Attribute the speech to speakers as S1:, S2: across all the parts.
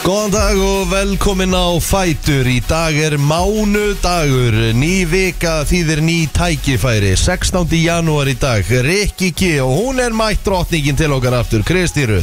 S1: Góðan dag og velkomin á Fætur Í dag er mánudagur Ný vika þýðir ný tækifæri 16. janúar í dag Rikki G og hún er mætt drottningin til okkar aftur Kristýru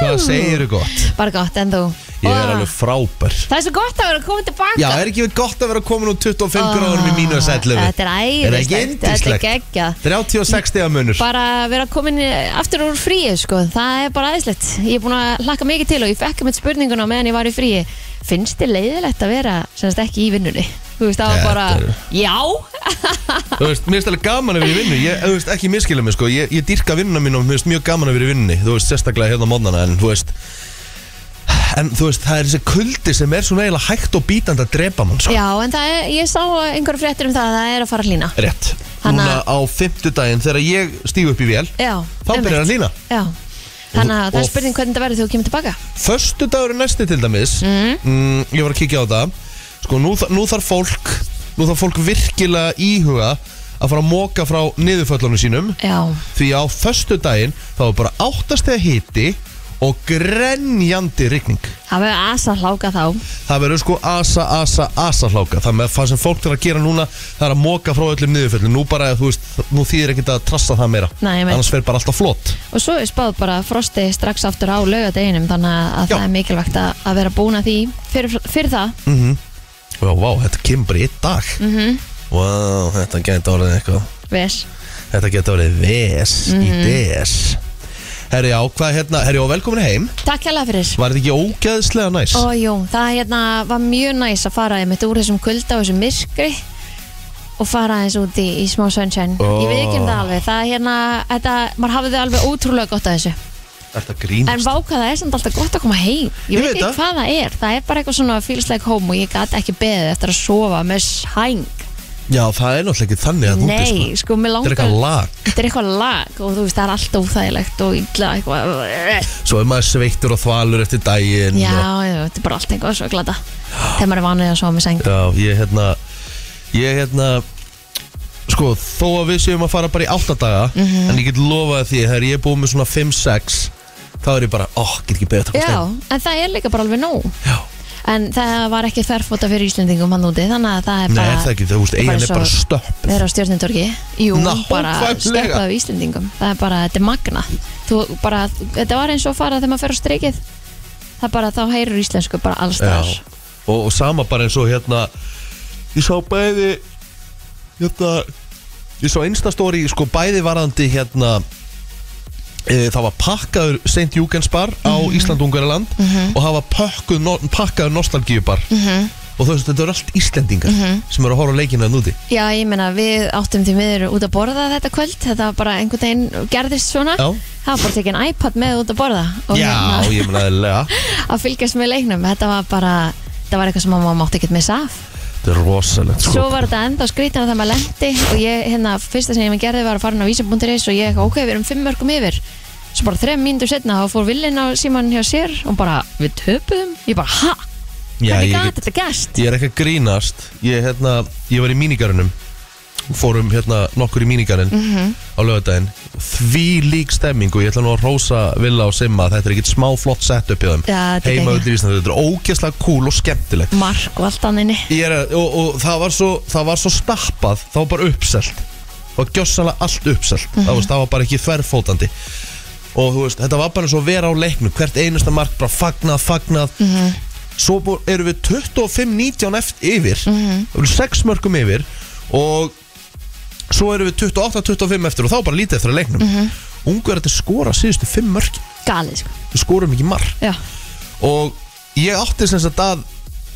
S1: Hvað segirðu gott?
S2: Bara gott, en þú?
S1: Ég er
S2: Ó,
S1: alveg frábær
S2: Það er svo gott að vera að koma tilbaka
S1: Já, er ekki gott að vera komin úr 25
S2: Ó,
S1: gráðunum í mínu sætlefi?
S2: Ah, Þetta er æðislegt
S1: Er það ekki
S2: Þetta er
S1: yndislegt?
S2: geggjað
S1: 36 stegar munur
S2: Bara að vera komin aftur úr fríi sko. Það er bara æðislegt Ég er búin að hlakka mikið til og ég fekk með spurninguna á meðan ég var í fríi Finnst þið leiðilegt að vera semst ekki í vinnunni? Þú veist, það var bara
S1: Þetta er-
S2: Já,
S1: Þú veist, mér finnst alveg gaman að vera í vinnu Ég, þú veist, ekki miskilum mig, sko Ég, ég dýrka vinnuna mín og mér finnst mjög gaman að vera í vinnunni Þú veist, sérstaklega hérna á mótnana En þú veist En þú veist, það er þessi kuldi sem er svona eiginlega hægt og bítandi að drepa mann, sko
S2: já, en það er, ég sá einhverju fréttir um það að það er að fara að hlýna
S1: Rétt
S2: Þannig
S1: Núna
S2: að-
S1: á fimmtudaginn þegar ég stíg upp í vél
S2: Já,
S1: Þá
S2: einmitt.
S1: byrjar að lína
S2: Já, þannig að það
S1: Og-
S2: er spurning hvernig það verður þegar þú kemur tilbaka
S1: Föstudagur er næsti til dæmis
S2: Mhm.
S1: mm. Ég var að kíkja á það Sko, nú, þa- nú þarf fólk Nú þarf fólk virkilega íhuga Að fara að móka frá niðurföllunum sínum
S2: Já,
S1: Því á förstu daginn þá var bara áttastega hiti og grenjandi rigning.
S2: það verður asa hláka þá
S1: Það verður sko asa, asa, asa hláka. Það með það sem fólk þarf að gera núna, það er að móka frá öllum niðurföllum. Nú bara, þú veist, nú þýðir ekkert að trassa það meira.
S2: Nei, ég meint.
S1: Annars fer bara alltaf flott.
S2: Og svo er spáð bara frosti strax aftur á laugadeginum þannig að
S1: Já.
S2: það er mikilvægt að, að vera búin að því fyrir, fyrir það.
S1: Já, vá, þetta kemur bara í einn dag. Mm
S2: Mhm.
S1: -hmm. Vá, þetta gæti orðið eitthvað.
S2: Ves.
S1: Þetta gæti orðið ves
S2: Mhm.
S1: í des. Herri, já, hvað hérna, herri, og velkomin heim.
S2: Takk hérlega fyrir.
S1: Var þetta ekki ógeðslega næs?
S2: Og jú, það hérna var mjög næs að fara einmitt úr þessum kulda og þessum myrkri og fara eins út í, í smá sunshine.
S1: Ó.
S2: Ég veit ekki um það alveg. Það er hérna, þetta, maður hafði alveg ótrúlega gott að þessu.
S1: Þetta grínast.
S2: En váka það er samt alltaf gott að koma heim.
S1: Ég
S2: Ég, veit
S1: veit
S2: ekki
S1: það.
S2: hvað það er. Það er bara eitthvað svona feels like home og ég gat ekki beðið eftir að sofa með sæng.
S1: Já, það er náttúrulega ekki þannig að þú
S2: Nei, sko, mér
S1: Þetta
S2: langar...
S1: er eitthvað lag
S2: þetta er eitthvað lag og þú veist það er alltaf óþægilegt og illa eitthvað
S1: Svo er maður sveittur og þvalur eftir daginn
S2: já,
S1: og,
S2: já, þetta er bara allt eitthvað svo glada þegar maður er vanið að sofa með seng
S1: já ég hérna Ég hérna Sko, þó að við séum að fara bara í áttadaga mm
S2: Mhm.
S1: -hmm. En ég get lofað því Þegar ég er búið með svona 5-6 Þá er ég bara, ó, get ekki beðið að taka
S2: já, en það er líka bara alveg nóg
S1: stein Já
S2: en það var ekki þverfóta fyrir Íslendingum hann úti þannig að það er
S1: Nei,
S2: bara
S1: er það ekki, þú veist, eigin er bara
S2: svo-
S1: stöpp
S2: vera á stjórnindorgi Jú,
S1: Nákvæmlega.
S2: bara stöppað af Íslendingum Það er bara, þetta er magna þú, bara, Þetta var eins og fara þegar maður fer á streikið Það er bara, þá heyrur íslensku bara alls
S1: Já,
S2: þar
S1: og, og sama bara eins og hérna Ég sá bæði Hérna Ég sá instastóri, sko bæði varandi hérna e, Það var pakkaður St. Júgensbar á
S2: Mhm.
S1: Ísland-Ungariland Og það var pökkuð, no, pakkaður Nostalgíubar
S2: Mhm.
S1: Og þú veist, þetta eru allt Íslendingar Sem eru að horfa á leikina en úti
S2: Já, ég meina við áttum því miður út að borða þetta kvöld Þetta var bara einhvern veginn gerðist svona
S1: Já.
S2: Það var bara tekinn iPad með út að borða Og hérna.
S1: Já, ég meina eðlilega
S2: að fylgjast með leiknum Þetta var bara, þetta var eitthvað sem maður mátti ekkert missa af
S1: Þetta er rosalegt sko
S2: Svo var þetta enda skrítin að það maður lendi Og ég, hérna, fyrsta sem ég maður gerði var að fara inn á vísi.is Og ég, ok, við erum fimm mörgum yfir Svo bara þrem mínútur setna þá fór villin á síman hjá sér Og bara, við töpuðum Ég bara, ha,
S1: Já,
S2: hvernig
S1: ég
S2: gat
S1: get-
S2: þetta gæst?
S1: Ég er ekki að grínast Ég, hérna, ég var í mínigarunum Fórum hérna, nokkur í mínigarun
S2: Mhm.
S1: Á lögadaginn Því lík stemming og ég ætla nú að rósa Villa og Simma, þetta er ekkit smá flott sett upp í þeim
S2: Já, þetta er
S1: Heima
S2: geggjað.
S1: öll í Íslandi, þetta er ógeðslega cool og skemmtilegt
S2: Mark og allt anninni
S1: Ég er, að- og, og það var svo Það var svo stappað, það var bara uppselt Það var gjössalega allt uppselt það, veist, það var bara ekki þverfótandi Og þú veist, þetta var bara eins og að vera á leiknum Hvert einasta mark, bara fagnað, fagnað Svo bú- erum við 25-19 eftir yfir Það eru 6 mörgum yfir Og svo erum við 28-25 eftir Og þá er bara lítið eftir að leiknum mm -hmm. Ungverðar skora síðustu 5 mörg
S2: Galið, sko,
S1: Við skorum ekki mark
S2: já
S1: og ég átti sem sagt að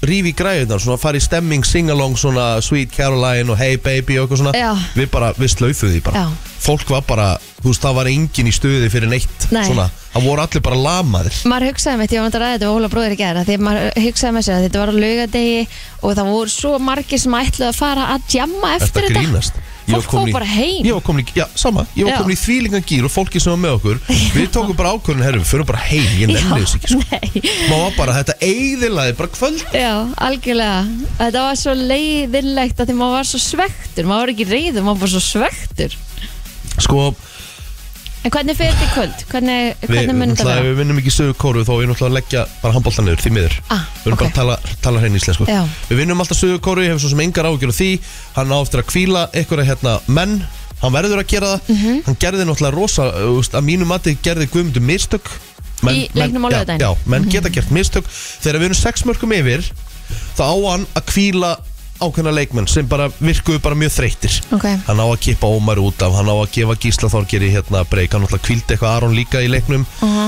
S1: rífi græðunar, svona fara í stemming singalong, svona Sweet Caroline og Hey Baby og eitthvað svona,
S2: Já.
S1: við bara, við slaufuðu því bara,
S2: Já.
S1: fólk var bara þú veist, það var engin í stuði fyrir neitt
S2: Nei.
S1: svona, það voru allir bara lamaðir
S2: maður hugsaði með þetta, ég var náttúrulega að ræða þetta við Óla bróðir í gæra, því að maður hugsaði með sér að þetta var á laugadegi og það voru svo margir sem ætluðu að fara að jamma
S1: Þetta
S2: eftir þetta
S1: grínast Ég var
S2: fólk
S1: komin
S2: fór bara heim
S1: Ég var komin í, já, sama Ég var
S2: Já.
S1: komin í þvílingan gýr og fólki sem var með okkur Við tókum bara ákvörðun, herru, við förum bara heim Ég nefnir þess ekki, sko
S2: nei,
S1: Má var bara, þetta eigðilaði bara kvöld
S2: já, algjörlega þetta var svo leiðinlegt að því maður var svo svektur maður var ekki reyður, maður var bara svo svektur
S1: Sko,
S2: En hvernig fer þetta í kvöld? Hvernig,
S1: Við,
S2: hvernig mun þetta
S1: náttúrulega,
S2: vera?
S1: við vinnum ekki sögur kóru þá við náttúrulega að leggja bara handbóltan niður því miður
S2: Ah,
S1: Við erum
S2: ok.
S1: bara að tala, tala hrein íslensku
S2: Já.
S1: Við vinnum alltaf sögur kóru, ég hef svo sem engar ágjör á því Hann á eftir að kvíla ykkur að hérna menn Hann verður að gera það
S2: Mhm.
S1: Hann gerði náttúrulega rosa, þú veist, að mínu mati gerði guðmundu mistök
S2: Í leiknum á
S1: já,
S2: laugardaginn? Mhm.
S1: Já, menn geta gert mistök Þegar við erum sex mörgum yfir Þá á hann að kvíla ákveðna leikmenn sem bara virkuðu bara mjög þreyttir
S2: Ok,
S1: hann á að kippa Ómar út af hann á að gefa Gísla Þorgeri hérna breyk hann náttúrulega kvildi eitthvað Aron líka í leiknum
S2: aha,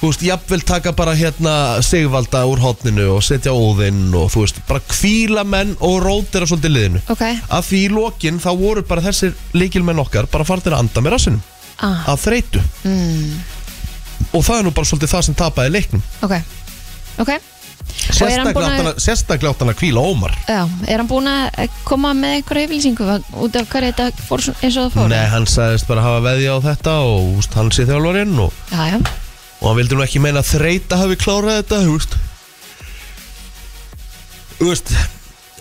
S1: þú veist, jafnvel taka bara hérna Sigvalda úr hotninu og setja óðinn og þú veist, bara kvíla menn og rótera svolítið liðinu
S2: ok
S1: að því í lokin þá voru bara þessir leikilmenn okkar bara farnir að anda með rassinum
S2: ah,
S1: að þreytu
S2: mm,
S1: og það er nú bara svolítið það sem tapaði leiknum
S2: Ok, ok Og er
S1: sérstaklega
S2: hann búinn
S1: átt
S2: að-
S1: hann að- sérstaklega átt hann að kvíla Ómar
S2: Já, er hann búinn að koma með einhverja yfirlýsingu út af hverju þetta fór svona- eins og það fór?
S1: Nei, hann sagðist bara hafa veðja á þetta og þú veist, hann sé þjálfarinn og
S2: Já, já,
S1: og hann vildi nú ekki meina að þreita hafi klárað þetta, þú veist þú veist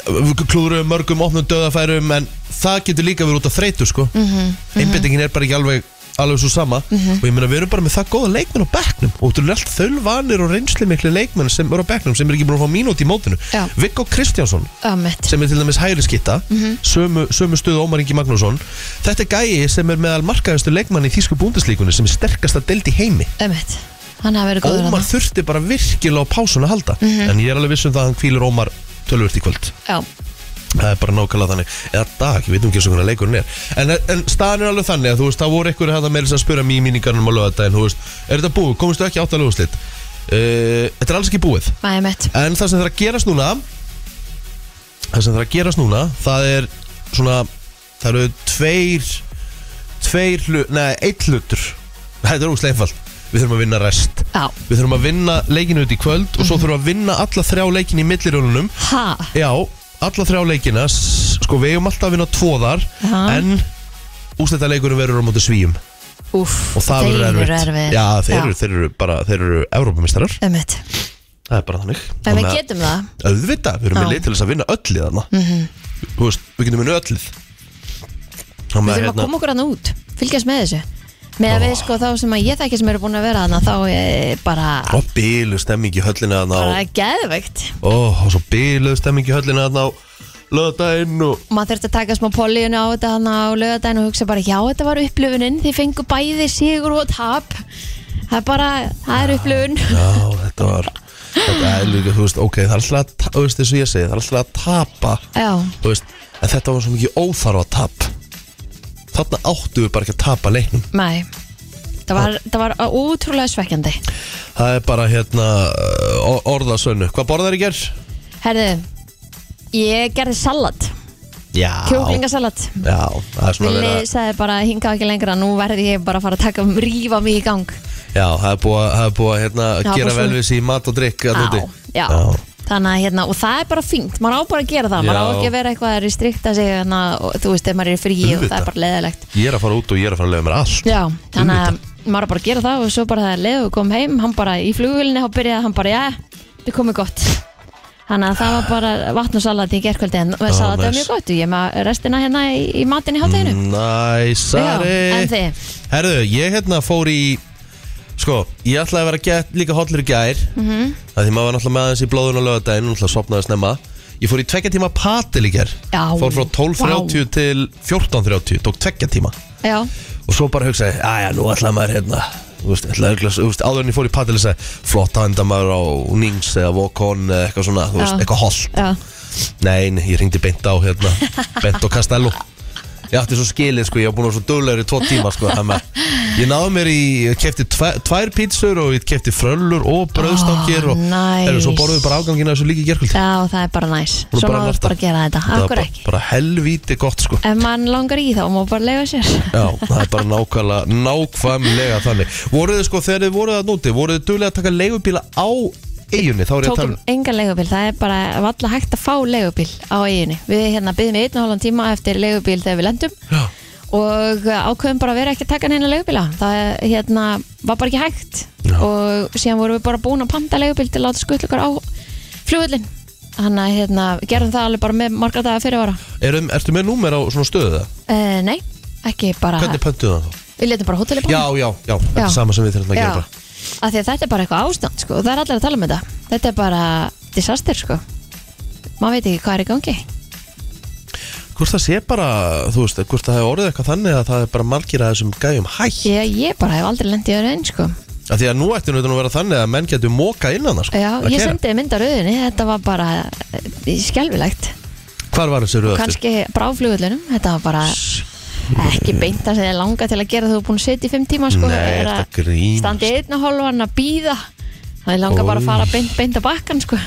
S1: við klúðurum mörgum opnum döðafærum en það getur líka verið út af þreytu sko mm einbyttingin er bara ekki alveg alveg svo sama og ég meina við erum bara með það góða leikmenn á bekknum og þú eru alltaf þölvanir og reynsli miklu leikmenn sem eru á bekknum sem er ekki búin að fá mínúti í mótinu
S2: Já.
S1: Viggo Kristjánsson
S2: ömmett
S1: sem er til dæmis hægri skitta sömu, sömu stöðu Ómar Ingi Magnússon þetta er gæi sem er meðal markaðustu leikmann í þýsku búndislíkunni sem er sterkast að deldi heimi
S2: Ömmett, hann hafi verið góður
S1: Ómar
S2: hann
S1: þurfti bara virkilega á pásun að halda En ég er alveg viss um það að hann kvílir Ómar tölvört í kvöld
S2: Já,
S1: Það er bara nákvæmlega þannig Eða dag, ég veit ekki eins og hvernig leikurinn er En, en staðan er alveg þannig að þú veist Það voru einhverju hæða meira sem að spura mér í míningarnum á lögata En þú veist, er þetta búið? Komist þú ekki átt að löguslit? Uh, þetta er alls ekki búið
S2: ömmett
S1: En það sem það er að gerast núna Það sem það er að gerast núna Það er svona Það eru tveir Tveir hlut, nei, eitt hlutur Þetta er óslega einfalt Við þurfum að vinna rest
S2: Já,
S1: Við þurfum að vinna leikinu út í kvöld
S2: Mhm.
S1: Og svo þurfum við að vinna alla þrjá leikinu í millirjónunum
S2: ha,
S1: Já, alla þrjá leikina s- Sko, við eigum alltaf að vinna tvo þar
S2: Aha.
S1: En úsleita leikurinn verður á móti svíum Og
S2: úff
S1: það
S2: þeir
S1: verður
S2: eru
S1: erfitt
S2: erfitt.
S1: Já, þeir eru, þeir eru bara, þeir eru Evrópumistarar
S2: Ömmett,
S1: Það er bara þannig
S2: en
S1: Þannig
S2: við
S1: að-
S2: getum það
S1: Auðvitað, við erum með
S2: Já. Mhm.
S1: lið til þess að vinna öll í þarna Þú veist, við getum vinna öll
S2: Við þurfum
S1: hérna,
S2: að koma okkur hann út, fylgjast með þessu Með að við sko þá sem að ég þekki sem eru búin að vera þannig þá er bara,
S1: Og bílu stemming í höllina þarna
S2: bara
S1: og-
S2: geðveikt
S1: Ó, og svo bílu stemming í höllina þarna á Löðdæinn og
S2: og maður þurfti að taka smá políunu á þetta hann á lögadaginn og hugsa bara já þetta var upplifunin þið fengu bæði sigur og tap það er bara, það er upplifun
S1: Já, þetta var Þetta er líka, þú veist, ok, það er alltaf að ta- Þú veist, eins og ég segi, það er alltaf að tapa
S2: já,
S1: Þú veist, en þetta var svo mikið óþarfa tap Þarna áttu við bara ekki að tapa leiknum
S2: nei það var, það var útrúlega svekkjandi
S1: Það er bara, hérna, uh, orðasönnu Hvað borðar í gerð?
S2: herðu, ég gerði salat
S1: Já
S2: kjúklingasalat
S1: Já, það er svona
S2: Vili
S1: verið að
S2: sagði bara hingað ekki lengra nú verði ég bara að fara að taka rífa mig í gang
S1: Já, það er búið að, það er búið að hérna, gera
S2: Já, bara
S1: vel
S2: svona-
S1: við sér í mat og drikk þarna
S2: já,
S1: Hérna úti.
S2: já. Þannig að hérna, og það er bara fínt, maður á bara að gera það, maður á
S1: Já.
S2: ekki að vera eitthvað að restrikta sig, hérna, og, þú veist, ef maður er í fríi og það
S1: Auðvitað.
S2: er bara leðilegt.
S1: Ég er að fara út og ég er að fara að leiða mér allt
S2: Já, þannig að maður á bara að gera það og svo bara það er leið og kom heim, hann bara í flugvölinni þá byrjaði hann bara, já, þetta er komið gott þannig að það var bara vatn og salat í gerkvöldi en oh, salat er
S1: Ah, nice.
S2: mjög gott og ég er með restina hérna í, í matinn í hátteginu
S1: Næsari
S2: Já, en þið?
S1: Herðu, ég hérna fór í Sko, ég ætlaði að vera gett líka hotlur í gær mm
S2: Mhm.
S1: -hmm. Því maður var náttúrulega með aðeins í blóðun og lögadaginn Náttúrulega sopnaði snemma Ég fór í tvekja tíma patil í gær
S2: Já.
S1: Fór frá 12.30 til 14.30 Tók tvekja tíma
S2: Já,
S1: Og svo bara hugsaði, aðja, nú ætlaði maður hérna Þú veist, ætlaði örugglega- þú veist, áður en ég fór í patil Þess að flotta henda maður á Nings eða Vokon eða eitthvað svona Þú veist,
S2: Já.
S1: eitthvað holt
S2: já,
S1: Nei, nei, ég ringdi beint á hérna Beint og Castello Ég átti svo skilið sko, ég var búin að vera svo döglegur í tvo tíma sko þannig að Ég náði mér í, ég kefti tvær, tvær pítsur og ég kefti fröllur og bröðstangir
S2: Oh,
S1: og
S2: nice.
S1: Heyrðu, Svo borðum við bara afgangina þessu líki gerkvöld
S2: já, það er bara næs
S1: Hún er
S2: Svo
S1: bara
S2: maður
S1: að narta.
S2: bara að gera þetta, akkur ekki
S1: Bara helvíti gott sko
S2: Ef mann langar í þá, maður bara leifa sér
S1: Já, það er bara nákvæmlega, nákvæmlega þannig Voruð þið sko, þegar þið voruð að núti Voruð þið duglega að taka leigubíla á eigunni Þá er ég að tala
S2: Tókum
S1: um
S2: engan leigubíl, það er bara valla hægt að fá leigubíl á eiginu Við hérna byggðum í einn og hálfan tíma eftir leigubíl þegar við lendum
S1: Já,
S2: og uh, ákveðum bara að vera ekki að taka neina leigubíla það hérna, var bara ekki hægt
S1: Já.
S2: og síðan vorum við bara búin að panta leigubíl til að láta skuttla ykkur á flugullin þannig að hérna, gerðum það alveg bara með margra daga fyrirvara
S1: erum, ertu með númer á svona stöðu það?
S2: uh, nei, ekki bara
S1: Hvernig pöntuðu það þá?
S2: Við letum bara hóteli
S1: Já,
S2: bóna
S1: já, já, þetta er sama sem við þurfum að gera
S2: Af því að þetta er bara eitthvað ástand sko, og það er allir að tala um þetta Þetta er bara disaster sko Maður veit ekki hvað er í gangi
S1: Hvort það sé bara, þú veist, hvort það hefur orðið eitthvað þannig að það er bara margir að þessum gæjum hætt
S2: Ég, ég bara hef aldrei lendið öðru einn sko
S1: Af Því að nú ætti nú þetta nú að vera þannig að menn getur móka innan það sko,
S2: Já,
S1: að
S2: ég
S1: keyra.
S2: sendið mynd á rauðinni, þetta var bara eh, skelfilegt
S1: Hvar var þessu röðu eftir?
S2: Kanski bráflugullunum, þetta var bara ekki beint það sem ég langa til að gera þú er búin að setja í fimm tíma sko
S1: Nei,
S2: er
S1: er
S2: að
S1: þetta grínast?
S2: Standa í einna hálfan að býða Það langa bara að fara
S1: Úff.
S2: beint, beint á bakkan sko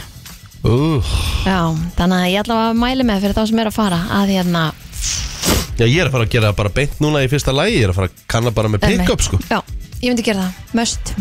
S1: Uh,
S2: Já, þannig að ég allavega mæli með fyrir þá sem er að fara að hérna
S1: já, ég er að fara að gera það bara beint núna í fyrsta lagi Ég er að fara að kanna bara með pick-up sko
S2: Já, ég myndi gera það, möst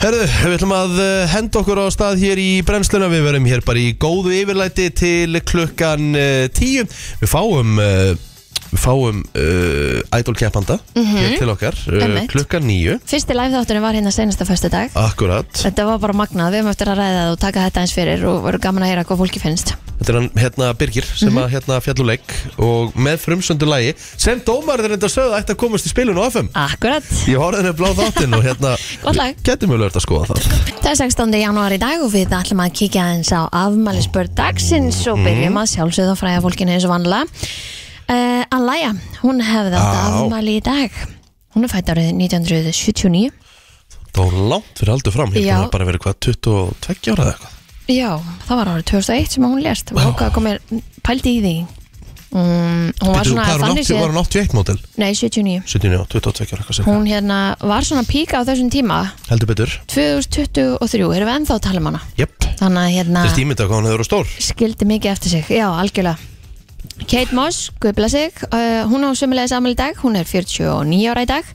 S1: Herðu, við ætlum að eh, henda okkur á stað hér í brennsluna Við verum hér bara í góðu yfirlæti til klukkan uh, tíu Við fáum, uh, við fáum uh, idol-keppanda hér til okkar uh,
S2: Mhm. Einmitt.
S1: Klukkan níu,
S2: Fyrsti live þátturinn var hérna senasta föstu dag
S1: akkurat
S2: Þetta var bara magnað, við höfum eftir að ræða það og taka þetta eins fyrir og verður gaman að heyra hvað fólki finnst
S1: Þetta er hann hérna Birgir sem
S2: Mhm.
S1: að hérna fjalluleik og með frumsöndu lagi sem dómarður enda sögðu ætti að komast í spilun og FM
S2: Akkurat
S1: Ég horfði henni blá þáttinn og hérna
S2: Gott lag.
S1: Getum við lögst að skoða það
S2: Það er 16. janúar í dag og við ætlum að kíkja eins á afmælisbörn dagsins
S1: Mhm.
S2: og byrjum að sjálfsögða fræða fólkinu eins og vanlega. Uh, Alaya, hún hefði átt
S1: Á.
S2: afmæli í dag. Hún er fætt árið 1979.
S1: Það var langt fyrir aldur fram Ég
S2: Já.
S1: hef bara verið hvað 22 ára eða eitthvað
S2: Já, það var árið 2001 sem hún lést. Hún ákvað að koma mér pældi í því. Um, hún var
S1: Býttu,
S2: svona
S1: hvað er hún
S2: þannig
S1: 80 var
S2: séð,
S1: hún 81 mótil?
S2: nei 79.
S1: 79, 22 ára eitthvað sem
S2: Hún hérna var svona píka á þessum tíma,
S1: Heldur betur
S2: 2023, erum við ennþá að tala um hana?
S1: Jöpp
S2: Þannig að hérna...
S1: Þess tímið hvað hún hefur verið stór
S2: skildi mikið eftir sig, já, algjörlega Kate Moss, guðbla sig uh, hún á sömulegis afmæli í dag, hún er 49 ára í dag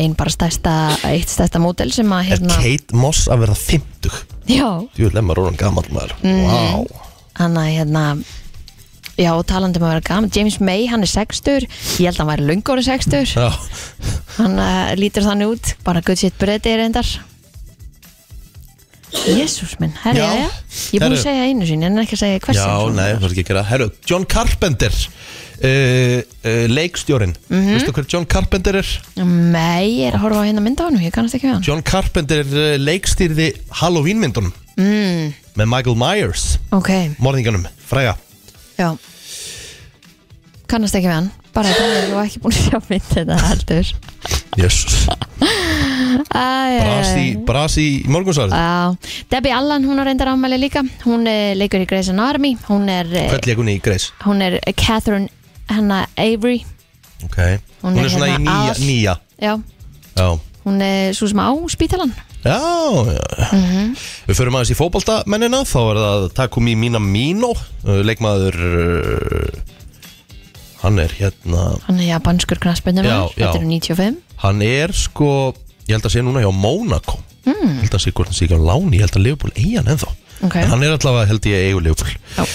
S2: ein bara stærsta, eitt stærsta mótel sem að
S1: Er
S2: hérna,
S1: Kate Moss að verða 50?
S2: já,
S1: Jú, lemma rónan gammal maður Vá
S2: Mm. hann að hérna já, og talandi um að vera gaman James May, hann er 60, ég held að hann væri lungóri 60,
S1: Já
S2: hann uh, lítur þannig út bara good shit breyti er endar Jésús minn, herri,
S1: Já.
S2: já, já ég er búin
S1: Herri.
S2: að segja einu sinni, en ekki að segja hversin
S1: Já, nei, það er ekki að gera Herru, John Carpenter uh, uh, Leikstjórin
S2: Mhm.
S1: Veistu hver John Carpenter er?
S2: nei, ég er að horfa á hérna mynda á hann ég kannast ekki við hann
S1: John Carpenter eh, leikstýrði Halloween myndunum
S2: Mm,
S1: með Michael Myers
S2: ok,
S1: morðinganum, fræga
S2: já Kannast ekki við hann Bara það er þú ekki búin að sjá mynd þetta heldur
S1: Jesus.
S2: Æ,
S1: Brasi,
S2: Eh.
S1: brasi í morgunsvarið
S2: Debbie Allan, hún á reyndar ámæli líka Hún eh, leikur í Grey's Anatomy Hún er, eh,
S1: Hvern leikunni í Greys
S2: hún er eh, Catherine hennar Avery
S1: okay.
S2: Hún
S1: Hún
S2: er
S1: er svona í
S2: hérna
S1: nýja,
S2: aðal-
S1: nýja.
S2: Já,
S1: Já.
S2: hún er svo sem á spítalan
S1: Já, já. Við förum aðeins í fótbaltamennina Þá er það Takumi Minamino uh, Leikmaður uh, Hann er hérna
S2: Hann er japanskur knassbundum
S1: Já, já.
S2: Þetta er 95
S1: Hann er sko Ég held að sé núna hjá Monaco mm. Ég held að sé hvort hann sé ekki á láni Ég held að Leopold eigi hann ennþá
S2: Ok.
S1: En hann er allavega held ég eigu Leopold
S2: Já.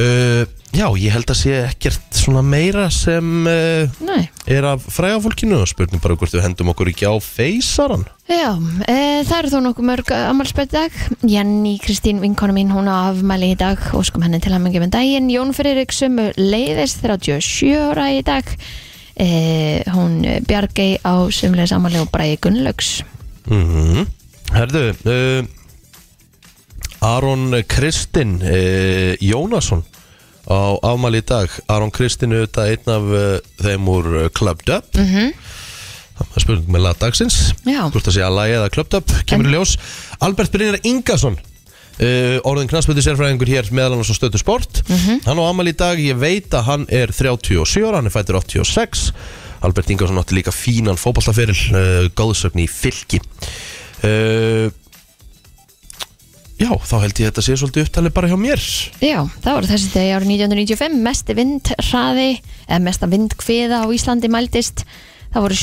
S1: uh, Já, ég held að sé ekkert svona meira sem uh,
S2: Nei
S1: er af fræga fólkinu og spurning bara hvort við hendum okkur ekki á feysaran
S2: Já, e, það eru þó nokkuð mörg afmælspöld dag. Jenny Kristín vinkona mín, hún á afmæli í dag, óskum henni til hamingi með daginn. Jón Friðrik sömu leiðis 37 ára í dag. E, hún Bjargei á sömulegis afmæli og Bræði Gunnlaugs.
S1: mm Herðu uh, Aron Kristinn uh, Jónasson á afmæli í dag Aron Kristinn er auðvitað einn af uh, þeim úr uh, Clubbed Up mm -hmm. Það er spurning með lagdagsins
S2: Já.
S1: Hvort að sé að lagi eða Clubbed Up kemur í ljós Albert Brynjar Ingason Uh, orðin knastbyrði sérfræðingur hér meðal annars á stötu sport hann á amal í dag, ég veit að hann er 37 ára, hann er fættur 86 Albert Ingarsson átti líka fínan fótballtaferil, uh, góðsögn í fylki uh, já, þá held ég þetta sé svolítið upptalið bara hjá mér
S2: Já, það voru þessi degi árið 1995, mesti vindhraði, eða mesta vindkviða á Íslandi mæltist. Það voru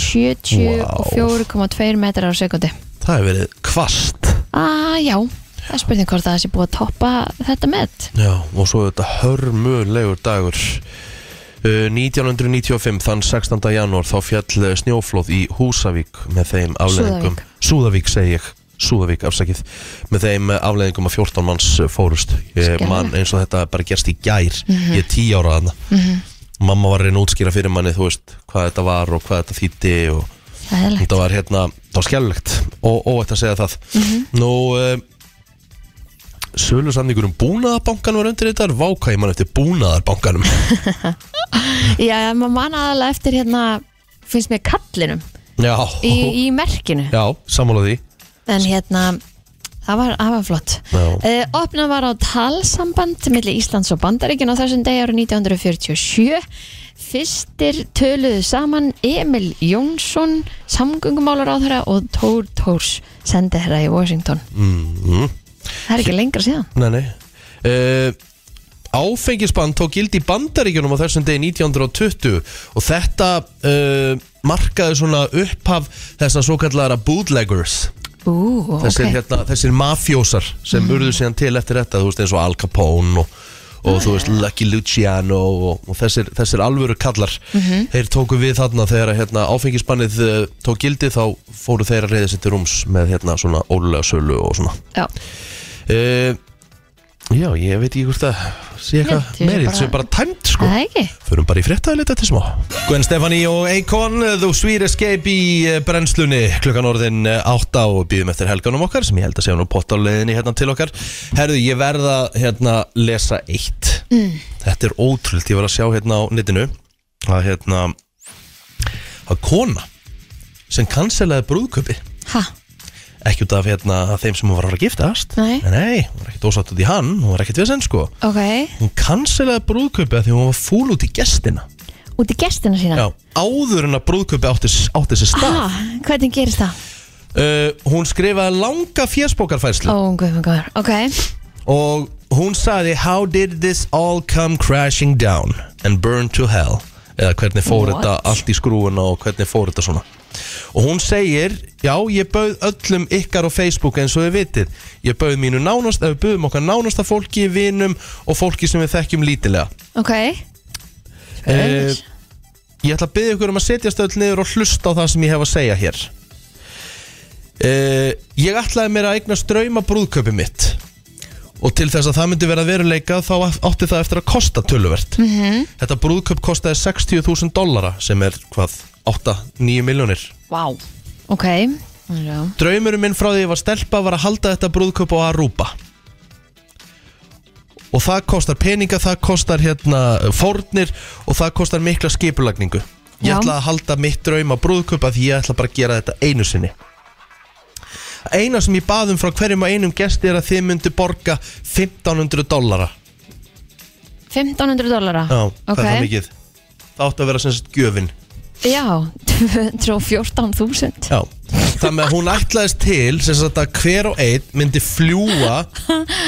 S2: 74,2 metrar á sekundi.
S1: það hefur verið kvast
S2: Ah, já, það er spurning hvort það sé búið að toppa þetta met.
S1: já, og svo þetta hörmulegur dagur Uh, 1995, þann 16. janúar þá fjall eh, snjóflóð í Húsavík með þeim afleðingum Súðavík segi ég, Súðavík afsakið með þeim eh, afleðingum að 14 manns eh, fórust ég
S2: Skelfilegt.
S1: man eins og þetta bara gerst í gær ég er 10 ára þarna mamma var að reyna að útskýra fyrir manni þú veist hvað þetta var og hvað þetta þýtti og
S2: Það Æðilegt.
S1: Þetta var hérna, það var skjálflegt og óætt að segja það
S2: Mhm.
S1: Nú, uh, sölu samningur um búnaðarbankan var undir þetta Váka ég mann eftir búnaðarbankanum
S2: Já, maður man aðalega eftir hérna finnst mér kallinum
S1: Já,
S2: í, í merkinu
S1: já, sammála því
S2: en hérna það var, það var flott
S1: Já.
S2: uh, opnað var á talsamband millir Íslands og Bandaríkin á þessum degi árið 1947 fyrstir töluðu saman Emil Jónsson samgöngumálar á þeirra og Tór Tórs sendi þeirra í Washington
S1: mm.
S2: það er ekki lengra síðan
S1: Nei, nei uh, Áfengisbann tók gildi í bandaríkjunum á þessum degi 1920 og þetta uh, markaði svona upphaf þessar svo kallara bootleggers
S2: Ú,
S1: þessir,
S2: ok,
S1: hérna, þessir mafjósar sem urðu síðan til eftir þetta þú veist eins og Al Capone og, og þú veist Lucky Luciano og, og þessir, þessir alvöru kallar þeir tóku við þarna þegar hérna, áfengisbannið uh, tók gildi þá fóru þeir að reyða sér til rúms með hérna svona ólega sölu og svona
S2: já
S1: Sko. uh, Já, ég veit ekki hvort það sé eitthvað
S2: Nei,
S1: meirið
S2: þetta
S1: sem
S2: er
S1: er bara tæmt sko
S2: Það er ekki
S1: Förum bara í fréttaðilegt eftir smá Gwen Stefani og Akon Þú svýr escape í eh, brennslunni Klukkan orðin eh, átta og býðum eftir helganum okkar sem ég held að sé nú pott á leiðinni hérna til okkar Herðu, ég verða hérna lesa eitt mm. Þetta er ótrúld, ég var að sjá hérna á netinu að hérna að kona sem kanselaði brúðköpi
S2: Ha,
S1: ekki út af hérna þeim sem hún var að fara að giftast
S2: Nei.
S1: nei, nei hún var ekkert ósatt út í hann hún var ekkert við senn sko
S2: ok
S1: hún kanselaði brúðköpi af því hún var fúl út í gestina
S2: Út í gestina sína
S1: Já, áður en að brúðköpi átti, átti sér stað
S2: ah, Hvernig gerist það?
S1: uh, Hún skrifaði langa fjersbókarfærslu
S2: Ó, guð, minn góður, ok
S1: Og hún sagði How did this all come crashing down and burn to hell Eða hvernig fór
S2: What?
S1: þetta allt í skrúuna og hvernig fór þetta svona Og hún segir Já, ég bauð öllum ykkar á Facebook eins og þið vitið Ég bauð mínu nánast, eða við bauðum okkar nánasta fólki, vinum og fólki sem við þekkjum lítilega
S2: Ok
S1: Eh, Ég ætla að byggja ykkur um að setjast öll niður og hlusta á það sem ég hef að segja hér uh, Ég ætlaði mér að eigna ströyma brúðköpi mitt Og til þess að það myndi vera að veruleika þá átti það eftir að kosta töluvert -hmm. Þetta brúðköp kostaði 60.000 dollara sem er hvað, 8-9 miljónir
S2: Vá wow. Ok Já.
S1: Draumurinn minn frá því ég var stelpa var að halda þetta brúðköp á Aruba Og það kostar peninga, það kostar hérna fórnir og það kostar mikla skipulagningu Ég
S2: Já.
S1: ætla að halda mitt drauma brúðköp af því ég ætla bara að gera þetta einu sinni Eina sem ég baðum frá hverjum og einum gesti er að þið myndu borga 1500 dollara
S2: 1500 dollara
S1: Já, hvað er það
S2: Ok.
S1: mikið? Það átti að vera sem sagt gjöfin
S2: Já, 214.000
S1: Já, þannig að hún ætlaðist til sem sagt að hver og einn myndi fljúa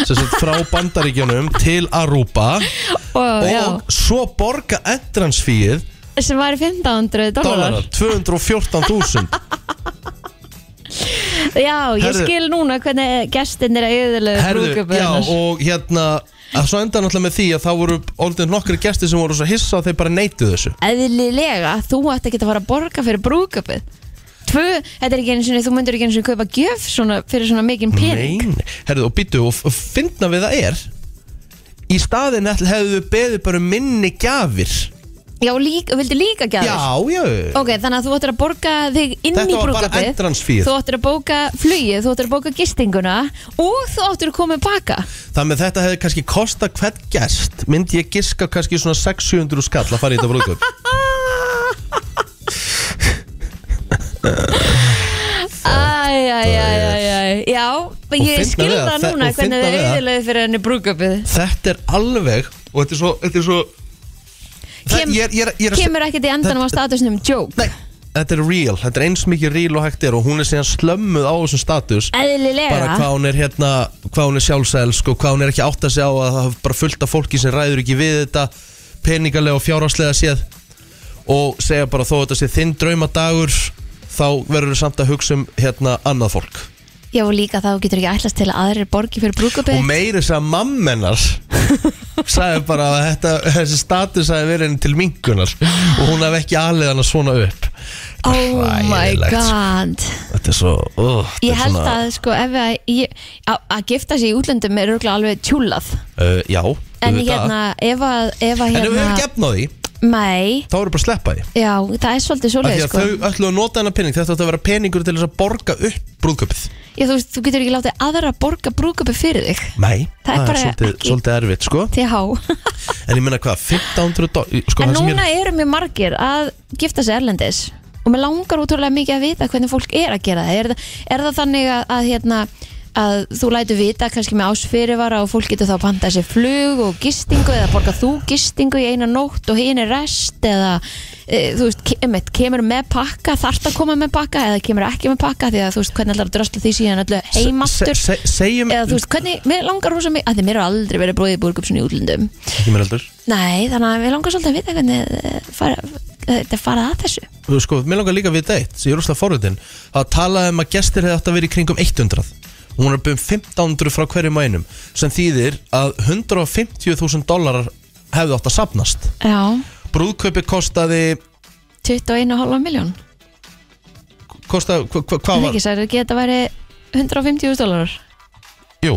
S1: sem sagt frá bandaríkjunum til Aruba
S2: og, já,
S1: og svo borga endransfíð
S2: sem var 1500 dollara
S1: dólarar 214.000
S2: Já, ég
S1: Herðu-
S2: skil núna hvernig gestin er að yðurlega
S1: Herðu,
S2: brúðköpu
S1: já og hérna að svo enda náttúrulega með því að þá voru orðin nokkri gesti sem voru svo hissa og þeir bara neituð þessu
S2: Eðlilega, þú ætti ekki að fara að borga fyrir brúðköpu Tvö, þetta er ekki einu sinni, þú myndur ekki einu sinni kaupa gjöf svona, fyrir svona mikinn pening
S1: Nei, nei. herðu og býttu og og finna við það er í staðin hefðu beðið bara um minni gjafir
S2: Já, líka, vildu líka gjafir
S1: Já, já,
S2: Ok, þannig að þú ættir að borga þig inn
S1: Þetta
S2: í
S1: var bara
S2: brúðköpið
S1: endransfíð.
S2: Þú ættir að bóka flugið, þú ættir að bóka gistinguna og þú ættir að koma baka
S1: Þannig að þetta hefði kannski kosta hvert gest myndi ég giska kannski svona 600 skall að fara í þetta brúðköp Ah.
S2: Æj, æj, æj, æj, æj Já,
S1: Og
S2: ég
S1: fyndna
S2: skil
S1: við
S2: það
S1: það,
S2: núna
S1: og
S2: hvernig
S1: fyndna
S2: þið
S1: við það.
S2: auðilegðu fyrir henni brúðköpið
S1: Þetta er alveg og þetta er svo, þetta er svo Það-
S2: Kem-
S1: ég er- ég er- ég er að-
S2: Kemur ekkert í endanum á statusnum joke
S1: Nei, þetta er real, þetta er eins mikið real og hægt er og hún er síðan slömmuð á þessum status bara
S2: Eðlilega
S1: hvað hún er hérna hvað hún er sjálfsælsk og hvað hún er ekki átt að sjá að það er bara fullt af fólki sem ræður ekki við þetta peningalega og fjárhagslega séð og segja bara þó þetta sé þinn draumadagur þá verður þú samt að hugsa um hérna annað fólk
S2: Já, og líka þá getur ekki ætlast til að aðrir borgi fyrir brúðköpið
S1: og meiri þess að mammenar sagði bara að þetta, þessi status hafi verið henni til mingunar og hún hafði ekki aðlega hana svona upp Þetta er
S2: Oh my
S1: hræðilegt, sko.
S2: god
S1: þetta er svo uh, þetta
S2: Ég
S1: er
S2: held
S1: svona,
S2: að sko ef að, ég, að, að gifta sig í útlöndum er örgulega alveg tjúlað
S1: uh, já,
S2: En
S1: auðvitað.
S2: hérna, ef að, ef
S1: en ef
S2: að
S1: við
S2: hérna
S1: hefum gefn á því
S2: Nei,
S1: Þá eru bara að sleppa því
S2: já, það er svolítið
S1: Af því
S2: svoleið
S1: að
S2: sko.
S1: þau ætlu að nota hennar pening Þetta átti að vera peningur til þess að borga upp brúðköpið
S2: Já, þú, veist, þú getur ekki látið aðra borga brúðköpi fyrir þig
S1: Nei,
S2: Það er bara
S1: svolítið,
S2: ekki-
S1: svolítið erfitt sko
S2: TH
S1: En ég meina hvað, 1500 dólar sko,
S2: En
S1: það sem ég-
S2: núna eru mjög margir að gifta sig erlendis og mér langar útrúlega mikið að vita hvernig fólk er að gera það er, það- er það þannig að, að hérna að þú lætur vita kannski með ásfyrirvara og fólk getur þá pantað sér flug og gistingu eða borga þú gistingu í eina nótt og hinn er rest eða e, þú veist, ke- einmitt, kemur með pakka þarft að koma með pakka eða kemur ekki með pakka því að þú veist hvernig ætlar að drösla því síðan öllu heimaftur
S1: Se- se- Segjum,
S2: eða þú veist hvernig, mér langar rosa mikið að því mér er aldrei verið bróðið búrgupsun í útlöndum
S1: ekki mér heldur
S2: Nei, þannig að við langar svolítið að vita hvernig eh, fara, þetta farað að þessu
S1: Þú sko, mér langar líka við deitt, sem ég er úrslega forvitin að talaði um að gestir hefði átt að vera í kringum 100 og hún er að byrjum 1500 frá hverjum og einum sem þýðir að 150.000 dólarar hefði átt að sapnast
S2: Já,
S1: brúðkaupi kostaði,
S2: 21,5 miljón
S1: kostaði hva, hva, hvað
S2: Það
S1: var
S2: ekki, sagði ekki að þetta væri 150.000 dólarar
S1: jú,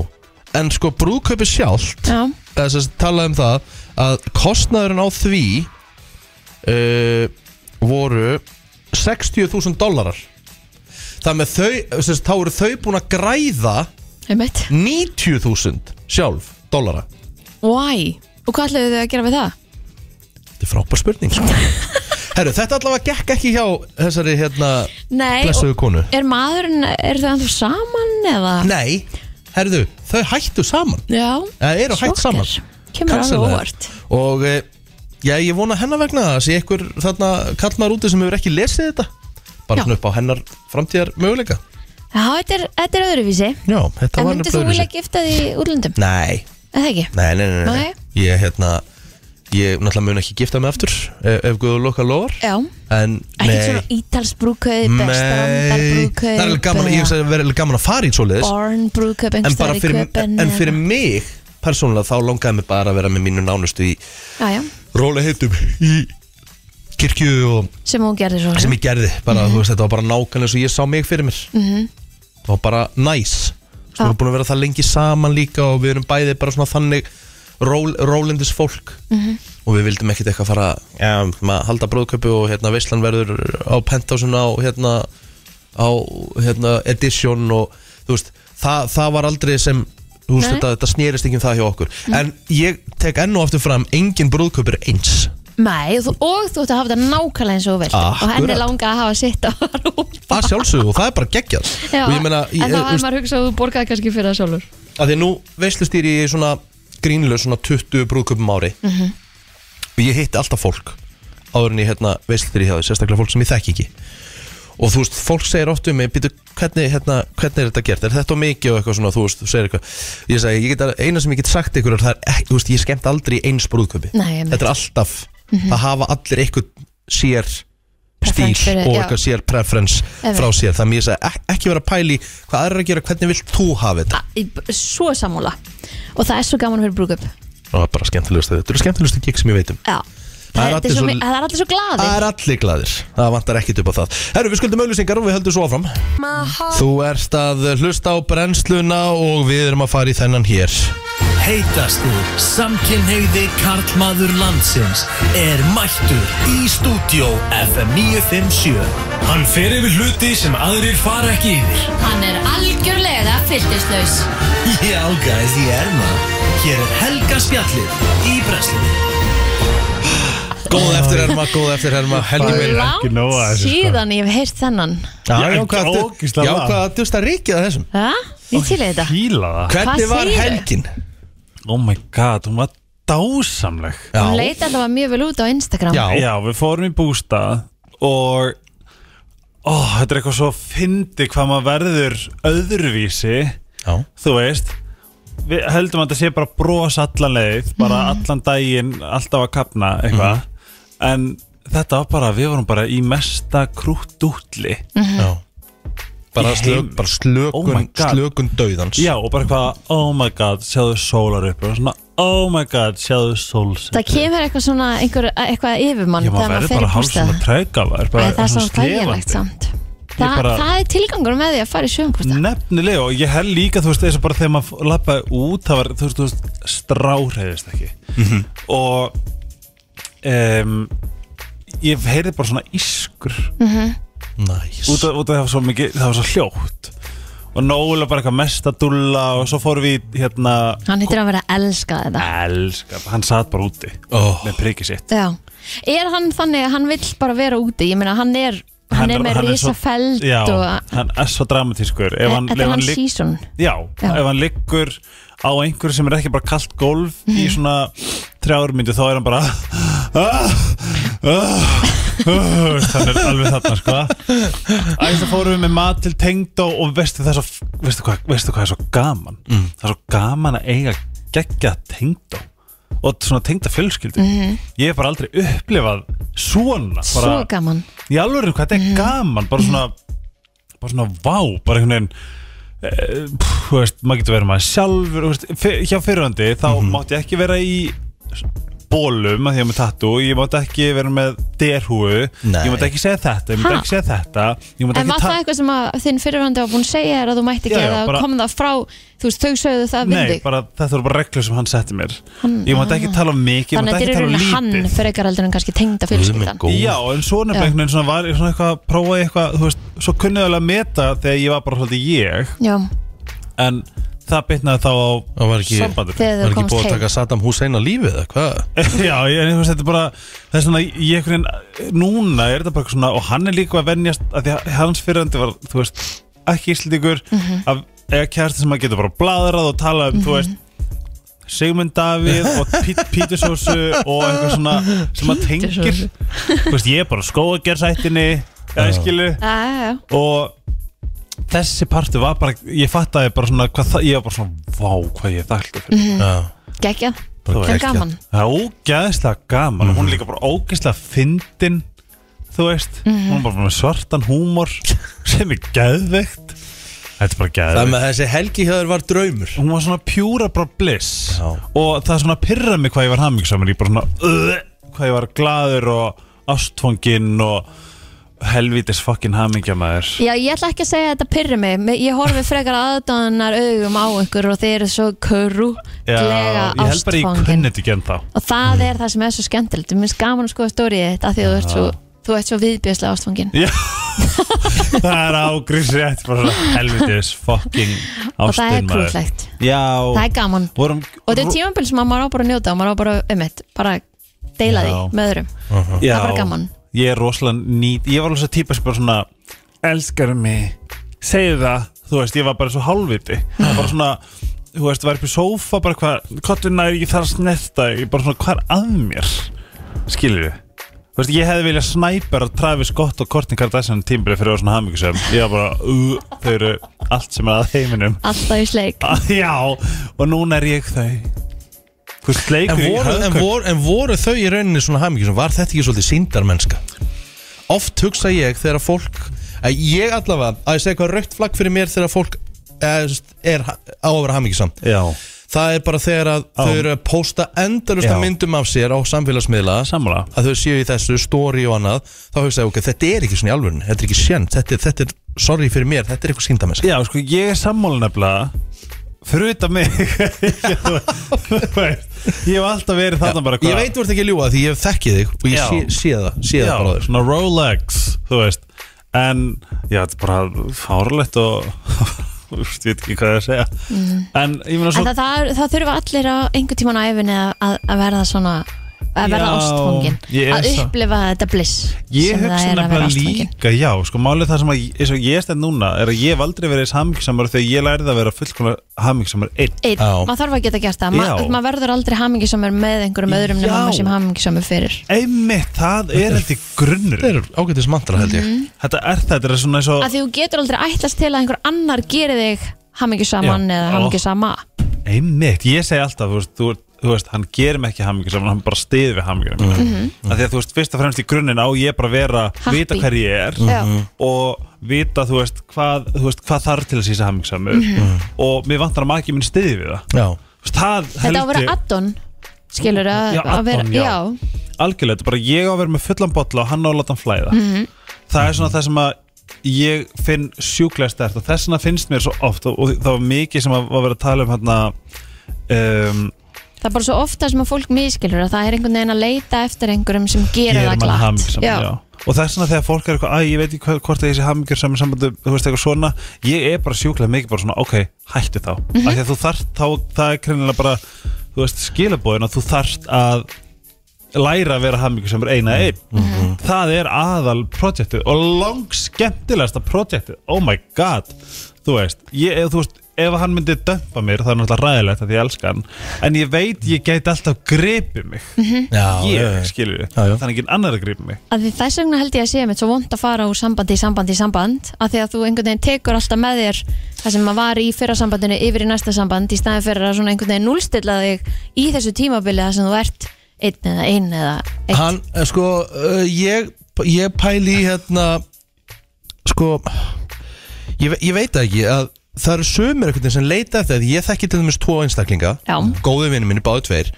S1: en sko brúðkaupi sjálft
S2: Já,
S1: eða sem sagt talaði um það að kostnaðurinn á því uh, voru 60.000 dólarar það með þau sem sagt, þá eru þau búin að græða
S2: einmitt
S1: 90.000 sjálf dólara
S2: Why? Og hvað ætlaðu þau að gera við það?
S1: þetta er frábær spurning sko. Herru, þetta allavega gekk ekki hjá þessari hérna
S2: Nei, og
S1: blessuðu konu
S2: er maðurinn, er þau andur saman eða?
S1: nei, herru, þau hættu saman
S2: Já,
S1: eða eru hætt
S2: sjokker.
S1: saman
S2: Kemur alveg
S1: Cancelaði.
S2: óvart
S1: og eh, já, ég vona hennar vegna að það sé einhver þarna kallmaður úti sem hefur ekki lesið þetta bara
S2: Já.
S1: svona upp á hennar framtíðar möguleika
S2: Já, þetta er, þetta er öðruvísi
S1: já, þetta
S2: En
S1: var
S2: myndið þú
S1: nefnilega
S2: vilja
S1: öðruvísi.
S2: gifta því útlöndum?
S1: nei,
S2: Er Það ekki?
S1: nei, nei, nei, nei.
S2: Nei.
S1: ég hérna ég náttúrulega mun ekki gifta mig aftur ef, ef Guður Loka lofar
S2: Já,
S1: en
S2: ekki
S1: nei
S2: Eh, svona ítalsbrúðkaup,
S1: Nei,
S2: bestrandarbrúðkaup
S1: það er alveg gaman, ég
S2: eða-
S1: hugsa að það er alveg gaman að fara í svoleiðis
S2: Born
S1: en
S2: brúðkaup einhvers
S1: bara
S2: staðar í
S1: fyrir,
S2: köpen
S1: en fyrir mig persónulega þá langaði mig bara að vera með mínu nánustu í
S2: já, já,
S1: róla heitum í kirkju og
S2: sem hún gerði svo
S1: sem ég gerði bara, þú veist, þetta var bara nákvæmlega eins og ég sá mig fyrir mér
S2: Mhm. Ah.
S1: það var bara næs við
S2: Já.
S1: erum búin að vera það lengi saman líka og við erum bæði bara svona þannig ról, rólindis fólk
S2: Mhm.
S1: og við vildum ekkert eitthvað fara ja, maður halda bróðköpu og hérna veislan verður á penthásuna og hérna á hérna edition og þú veist, það, það var aldrei sem þú veist,
S2: Nei. Mm.
S1: þetta, þetta snerist ekki um það hjá okkur en ég tek enn og aftur fram engin brúðköp er eins
S2: Nei, og þú, og þú ætti að hafa þetta nákvæmlega eins og þú vilt og henni
S1: Akkurat.
S2: langa að hafa sitt á rúpa
S1: að sjálfsögðu og það er bara geggjað
S2: Já,
S1: og ég meina, ég,
S2: en þá
S1: þú
S2: hafði maður hugsað að þú borgaði kannski fyrir það sjálfur
S1: að því að nú veislustýri ég svona grínlega svona 20 brúðköpum ári
S2: Mhm.
S1: og ég hitti alltaf fólk áður en ég hérna veislustýri hjá því sérstaklega fólk sem ég þekki ekki og þú veist, fólk segir oft um mig býtu, hvernig, hérna, hvernig er þetta gert, er þetta of mikið og eitthvað svona, þú veist, þú segir eitthvað ég segi, ég get, að- eina sem ég get sagt ykkur er það er, ekki- þú veist, ég skemmt aldrei í eins brúðköpi
S2: Nei, einmitt. Mhm.
S1: þetta er alltaf, það hafa allir eitthvað sér stíl
S2: Preference fyrir-
S1: og
S2: já.
S1: eitthvað sér preference
S2: Einmitt.
S1: frá sér, þannig ég segi ek- ekki vera að pæli hvað aðra að gera, hvernig vilt þú hafa þetta
S2: Í- Svo samúla og það er svo gaman fyrir brúðkaup
S1: og það er bara skemmtilegust þetta eru skemmtilegustu gig sem ég veit um
S2: Já,
S1: Það er
S2: það,
S1: allir
S2: er svo,
S1: svo-
S2: mi- það er allir svo glaði
S1: það er allir glæðir, það vantar ekkit upp á það herru við skuldum auðlýsingar og við höldum svo áfram þú ert að hlusta á brennsluna og við erum að fara í þennan hér
S3: Heitasti samkynhegði karlmaður landsins er mættur í stúdió FM 957. Hann fer yfir hluti sem aðrir fara ekki yfir.
S4: Hann er algjörlega fylgdislaus.
S3: Já, guys, ég er maður. Hér er Helga Spjallið í Breslunni.
S1: góð eftir herma, góð eftir herma helgi
S5: Það er
S1: meira
S5: ekki nóg að
S2: Langt
S5: þessu, sko.
S2: síðan ég hef heyrt þennan
S5: Ég er
S1: já, hvað
S5: ekki ógeðslega
S1: já,
S5: lag.
S1: hvað að dusta ríkið að þessum
S2: Ha? Ég til í þetta
S5: Fíla það
S1: hvernig
S2: Hvað
S1: var
S2: segirðu?
S1: helgin?
S5: Oh my god, hún var dásamleg
S2: Hún leit allavega mjög vel út á Instagram
S1: já,
S5: Já, við fórum í bústað og ó, þetta er eitthvað svo fyndi hvað maður verður öðruvísi
S1: já,
S5: þú veist við heldum að þetta sé bara bros allan leið bara
S2: Mhm.
S5: allan daginn, alltaf að kapna eitthvað, en þetta var bara, við vorum bara í mesta krúttútli
S2: Mhm.
S1: já bara,
S5: Í
S1: slök,
S5: heim.
S1: bara
S5: Oh my
S1: slökun,
S5: God.
S1: slökun döðans
S5: Já, og bara eitthvað, oh my god, sjáðu sólar upp og svona, oh my god, sjáðu sólsett
S2: Það kemur eitthvað svona, einhver, eitthvað yfirmann
S5: Ég maður
S2: þegar
S5: verður
S2: fer í
S5: bara hálf
S2: bústað.
S5: svona trækafar
S2: Æ, það er svo hlægilegt samt Þa,
S5: sko. bara-
S2: Það er tilgangur með því að fara í sjöfumkvista
S5: Nefnilega og ég held líka þú veist þess að bara þegar maður lappaði út það var þú veist, þú veist stráhreiðist ekki og um, ég heyrði bara svona ískur
S1: Næs
S5: út af, út af það var svo mikið, það var svo hljótt og nógulega bara eitthvað mest að dulla og svo fórum við í, hérna
S2: Hann hittir að vera að elska þetta
S5: elskar, hann satt bara úti
S1: Ó.
S5: með prikið sitt
S2: Já. Er hann þannig að hann vill bara vera úti? Ég meina, hann er, hann er með
S5: svo-
S2: risafeld
S5: já,
S2: og...
S5: hann er svo dramatískur ef hann,
S2: Þetta
S5: ef
S2: er
S5: hann
S2: hann
S5: ligg-
S2: season.
S5: já,
S2: Já.
S5: ef hann liggur á einhverju sem er ekki bara kalt golf í
S2: Mhm.
S5: svona trjármyndu þá er hann bara ah, ah, ah, hann er alveg þarna sko æst að fórum við með mat til tengd og, og veistu það er svo veistu hvað, veistu hvað er svo gaman það er svo gaman að eiga geggja tengd og svona tengda fjölskyldu ég hef bara aldrei upplifað svona
S2: Mhm. Svo
S5: bara,
S2: gaman.
S5: í alveg hvað
S2: Mm.
S5: þetta er gaman bara svona, bara svona vá bara einhvern veginn eh, pff, þú veist, maður getur verið maður sjálfur þú veist, fyr- hjá fyrrandi þá
S2: Mhm.
S5: mátti ég ekki vera í s- bólum að því að ég er með tattu, ég mátti ekki vera með derhúu,
S1: Nei.
S5: ég mátti ekki segja þetta ég
S2: Ha?
S5: mátti ekki segja þetta ég mátti
S2: En
S5: ekki
S2: var það
S5: ta-
S2: eitthvað sem að þinn fyrirvandi var búin að segja þér að þú mætti
S5: Já,
S2: ekki
S5: já,
S2: eða
S5: bara-
S2: kom það frá, þú veist, þau sögðu það við
S5: Nei,
S2: þig?
S5: bara, þetta voru bara reglur sem hann setti mér Ég mátti ekki tala um mikið,
S2: Ah.
S5: ég
S2: Þannig
S5: mátti
S2: að þetta
S5: ekki
S2: er
S5: tala um
S2: raunin
S5: lítið
S2: hann frekar heldur en kannski tengda fjölskyldan.
S1: Guð minn góður.
S5: Já, en svona
S2: Já.
S5: bara einhvern veginn svona var ég svona eitthvað að prófa eitthvað, þú veist, svo kunnið alveg að meta þegar ég var bara svolítið ég
S2: Já,
S5: en það bytnaði þá á
S1: Það var ekki-
S5: sambandur
S2: þegar
S1: Var
S2: þau
S1: ekki
S2: komast
S1: búið að
S2: heim.
S1: taka Saddam Hussein á lífið eða hvað?
S5: Já, ég, en þú veist, þetta er bara það er svona, ég einhvern veginn eh, núna er þetta bara eitthvað svona, og hann er líka að venjast að því að hans fyrrandi var, þú veist ekki íslendingur, mm -hmm. að kjærasti sem að geta bara bladrað og tala um, þú veist Sigmund Davíð og pít, pítusósu og eitthvað svona sem að tengir
S2: Pítusósu.
S5: þú veist, ég er bara skóagerðsættinni eða skilu
S2: Já, já, já.
S5: og þessi partur var bara ég fattaði bara svona hvað það ég var bara svona, vá hvað ég er þakklæður fyrir
S2: Mm.
S1: Já,
S2: Gekkja.
S1: bara
S2: Það er
S1: geggjað.
S2: gaman.
S5: það er ógæðislega gaman og hún
S1: Mhm.
S5: er líka bara ógæðislega fyndin þú veist,
S2: Mhm.
S5: hún er bara með svartan húmor sem er gæðveikt þetta er bara
S1: Það
S5: gæðveikt
S1: með þessi helgi hjöður var draumur
S5: hún var svona pjúra bara bliss
S1: Já.
S5: og það er svona pyrra mig hvað ég var hammingsamur ég bara svona, uh, hvað ég var glaður og ástfanginn og helvítis fucking hammingjamaður
S2: Já, ég ætla ekki að segja að þetta pyrri mig. Me- Ég horfi frekar aðdáðanar augum á ykkur og þeir eru svo körru, glega
S5: ég held bara ég kunni
S2: ástfangin.
S5: þetta ekki en þá
S2: Og það er það sem er svo skemmtilegt. Mér finnst gaman að skoða stórið þetta af því að þú ert svo, þú ert svo viðbjörslega ástfangin.
S5: Já Það er ágrísrétt bara svona helvitis fucking ástin
S2: Og það er
S5: maður.
S2: krútlegt.
S5: Já
S2: Það er gaman.
S5: vorum,
S2: Og þetta er tímambil sem að maður á bara að njóta og maður á bara um eitt, bara að deila
S5: Já.
S2: því með öðrum.
S5: já,
S2: það er bara gaman.
S5: Ég er rosalega nýt Ég var alveg svo típa sem bara svona Elskar mig Segðu það Þú veist, ég var bara svo hálfviti Það var bara svona Þú veist, var upp í sófa bara hvað Kottu nær, ég þarf að snerta þig, Ég bara svona, hvað er að mér? Skilur við Þú veist, ég hefði viljað snæper að Travis Scott og Kourtney Kardashian tímbilið fyrir að vera svona hamingisum Ég var bara, uh, þau eru allt sem er að heiminum
S2: Alltaf í sleik.
S5: Ah, Já, og núna er ég þau Hvað
S1: En
S5: sleikur í
S1: voru, en,
S5: höfðkök-
S1: voru, en voru þau í rauninni svona hamingjusum? Var þetta ekki svolítið síndarmennska? Oft hugsa ég þegar fólk að Ég allavega, að ég segja hvað raukt flagg fyrir mér þegar fólk eh, er ha- á að vera hamingjusamt
S5: Já,
S1: Það er bara þegar að
S5: Já.
S1: þau eru að posta endalust
S5: Já.
S1: myndum af sér á samfélagsmiðla
S5: sammála
S1: að þau séu í þessu story og annað þá hugsa ég, ok, þetta er ekki svona í alvörun þetta er ekki sjönd, þetta, er- þetta er, sorry fyrir mér þetta er eitthvað síndarmennska
S5: Já, sko, ég er sammála nefnilega Fyrir utan mig Þú veist, Ég hef alltaf verið þarna bara
S1: Ég veit þú ert ekki að ljúga því ég þekki þig og
S5: Já.
S1: ég sé, sé það, sé það bara á
S5: Já,
S1: þér
S5: svona Rolex, þú veist En, já, þetta er bara fárlegt og Þú veist, ég veit ekki hvað ég að segja En, ég
S2: Mhm.
S5: meina
S2: En
S5: svo
S2: það, það, það þurfa allir á einhvern tíman á æfinni að, að verða svona að verða
S5: Já,
S2: ástfóngin
S5: ég er
S2: að
S5: svo-
S2: upplifa þetta bliss
S5: Ég
S2: sem það
S5: hugsa
S2: er að vera
S5: nefnilega
S2: ástfóngin
S5: líka, já, sko málið það sem að, eins og ég stend núna er að ég hef aldrei verið samingsamar þegar ég lærið að vera fullkonar samingsamar einn
S2: Einn,
S1: Já.
S2: maður þarf að geta gert það Ma,
S5: Já.
S2: maður verður aldrei hamingisamur með einhverjum öðrum nema
S5: Já.
S2: maður sem hamingisamur fyrir
S5: Einmitt, það er þetta í grunnur
S1: Þetta er ágætis mantra held ég
S5: Þetta er það, þetta er svona eins og
S2: að því þú getur aldrei ætlast til að einhver annar geri þig hamingisaman
S5: Já.
S2: eða
S5: Ó.
S2: hamingisama
S5: Einmitt, ég segi alltaf, þú veist, þú, þú veist hann gerir mig ekki hamingisamar, hann bara stiði við hamingjuna mína Af því að þú veist, fyrst og fremst í grunninn á ég bara að vera,
S2: Mhm. Happy.
S5: vita hver ég er
S2: Já. Mhm.
S5: og vita, þú veist, hvað, þú veist, hvað þarf til að sísa hamingsamur
S2: Mhm.
S5: og mér vantar að maki minn stiði við það
S1: Já,
S5: Þú veist, Það
S2: þetta á að
S5: held ég-
S2: vera addon skilur að,
S5: Já,
S2: að vera
S5: add-on, já.
S2: já.
S5: algjörlega, þetta er bara ég á að vera með fullan bolla og hann á að láta hann flæða
S2: Mhm.
S5: það er svona það sem að ég finn sjúklega stert og þess vegna finnst mér svo oft og, og það var mikið sem að var verið að tala um hérna um,
S2: það er bara svo ofta sem að fólk miskilur að það er einhvern veginn að leita eftir einhverjum sem gerir
S5: Gerir
S2: það
S5: mann
S2: glatt
S5: hamingjusam, já. Og það er svona þegar fólk er eitthvað, að ég veit ekki hvað- hvort að ég sé hamingjur saman sambandu, þú veist eitthvað svona, ég er bara sjúklega mikið bara svona, ok, hættu þá. Mm Því að þú þarft þá, það er greinilega bara, þú veist, skilabóðin að þú þarft að læra að vera hamingjur sem er eina einn. Það er aðal projektið og lang skemmtilegasta projektið, oh my god, þú veist, ég, ef, þú veist, ef hann myndi dömpa mér, það er náttúrulega ræðilegt að ég elska hann, en ég veit ég gæti alltaf gripið mig, ég skilur
S1: Já, já.
S5: þannig en annar að gripa mig
S2: að því þess vegna held ég að sé mitt svo vond að fara úr sambandi í sambandi í samband að því að þú einhvern veginn tekur alltaf með þér það sem maður var í fyrra sambandinu yfir í næsta samband í staðin fyrir að svona einhvern veginn núlstilla þig í þessu tímabili þar sem þú ert einn eða einn eða einn
S1: Hann, eh, sko, uh, ég, ég pæli í hérna Sko Ég, ve- ég veit það ekki að það eru sömur einhvern veginn sem leita eftir því Ég þekki til dæmis tvo einstaklinga
S2: Já.
S1: Góðu vinni minni, báðu tveir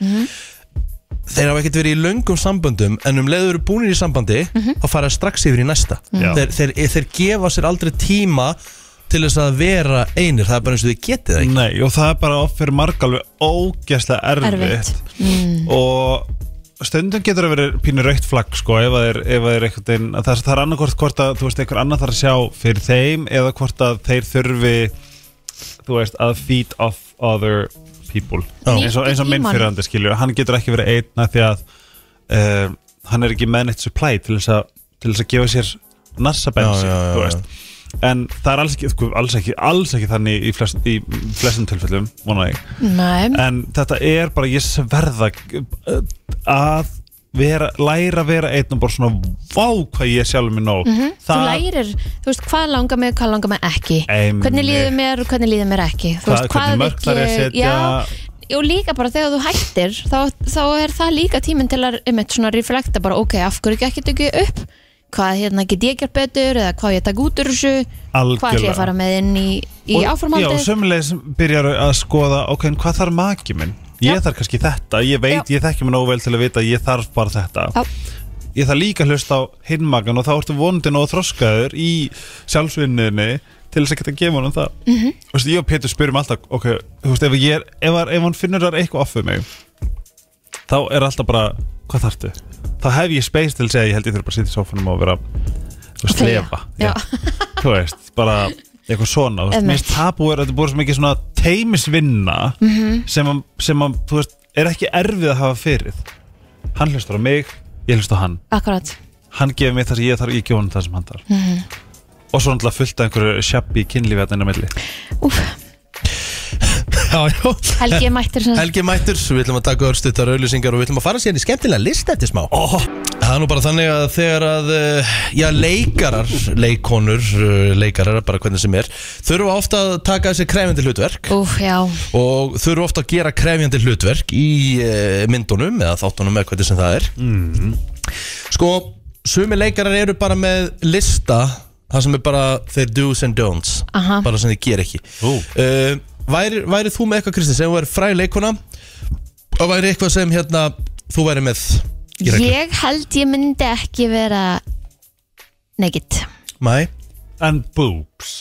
S1: Þeir hafa ekkert verið í löngum samböndum En um leiður eru búinir í sambandi Þá fara þeir strax yfir í næsta
S5: Já.
S1: þeir, þeir, þeir gefa sér aldrei tíma Til þess að vera einir Það er bara eins og þið getið það ekki
S5: Nei, og það er bara oft fyrir marg alveg ógeðslega erfitt
S2: Erfitt. Mm.
S5: og stundum getur að vera pínu raukt flagg sko, ef það er, ef það er einhvern veginn að það, það er annarkvort hvort að, þú veist, einhver annar þarf að sjá fyrir þeim eða hvort að þeir þurfi þú veist, að feed off other people
S1: Já.
S5: eins og, eins og minn
S2: Tímann.
S5: fyrir hann, skilju, hann getur ekki verið einn af því að um, hann er ekki með neitt supply til þess að, til þess að gefa sér
S1: Já,
S5: nassabensi,
S1: já, já,
S5: þú
S1: já.
S5: veist en það er alls ekki, sko, alls ekki, alls ekki þannig í, flest, í flestum tilfellum vona ég,
S2: Nei,
S5: en þetta er bara ég sverða uh, að vera, læra að vera einn og bara svona vá hvað ég er sjálfur mér nóg
S2: Mhm. þú
S5: það,
S2: lærir, þú veist, hvað langar mig, hvað langar mig ekki
S5: Einmitt.
S2: Hvernig líður mér og hvernig líður mér ekki Þú
S5: Það-
S2: veist,
S5: hvernig
S2: hvað
S5: mörk
S2: vill
S5: þarf ég að
S2: ég-
S5: setja?
S2: Já, og líka bara þegar þú hættir þá, þá er það líka tíminn til að einmitt svona reflekta bara, ok, af hverju gekk þetta ekki upp Hvað hérna get ég gert betur eða hvað á ég að taka út úr þessu Hvað ætlum ég
S5: Algjörlega.
S2: að fara með inn í, í
S5: já,
S2: áformaldið
S5: og sömulegis byrjar að skoða ok, en hvað þarf maki minn? Ég
S2: Já.
S5: þarf kannski þetta, ég veit,
S2: Já.
S5: ég þekki mér nóg vel til að vita að ég þarf bara þetta
S2: Já.
S5: ég þarf líka að hlusta á hinmagan og þá ertu vondin og þroskaður í sjálfsvinniðinni til þess að geta að gefa honum það mm
S2: Mhm.
S5: -hmm. veist, ég og Pétur spyrum alltaf ok, þú veist, ef, ég er, ef, hann- ef hann finnur þar eitthvað off við mig þá er alltaf bara, hvað þarftu? þá hef ég space til að segja, ég held ég þurfa bara að sitja í sófanum og vera þú
S2: Og
S5: veist,
S2: þegja.
S5: lefa
S2: Já.
S5: þú veist, bara eitthvað svona, þú veist,
S2: Einmitt.
S5: mér finnst það búið þetta er búið svo mikið svona teimisvinna
S2: Mhm.
S5: sem, að, sem að, þú veist, er ekki erfið að hafa fyrir hann hlustar á mig, ég hlustar á hann
S2: Akkurat,
S5: hann gefur mig það sem ég þarf, ég gefur hann það sem hann þarf
S2: Mhm.
S5: og svo náttúrulega fullt af einhverju sjabbi í kynlífi að milli
S2: úf,
S1: Já, já
S2: Helgi er mættir sem
S1: Helgi Mættur, við ætlum að taka örstuttar auðlýsingar og við ætlum að fara síðan í skemmtilega list eftir smá oh. Það er nú bara þannig að þegar að eh, já, leikarar, leikonur eh, leikarar, bara hvernig sem er þurfa ofta að taka þessi krefjandi hlutverk
S2: Úf, já,
S1: og þurfa ofta að gera krefjandi hlutverk í eh, myndunum eða þáttunum eða hvernig sem það er
S5: Mhm.
S1: Sko, sumi leikarar eru bara með lista það sem er bara þeir do's and don'ts
S2: Aha.
S1: bara sem þeir gera ekki
S5: Ú.
S1: uh, væri, væri þú með eitthvað Kristins, ef þú væri fræg leikuna og væri eitthvað sem hérna þú væri með í reglu?
S2: ég held ég myndi ekki vera negitt
S1: Mæ,
S5: en boobs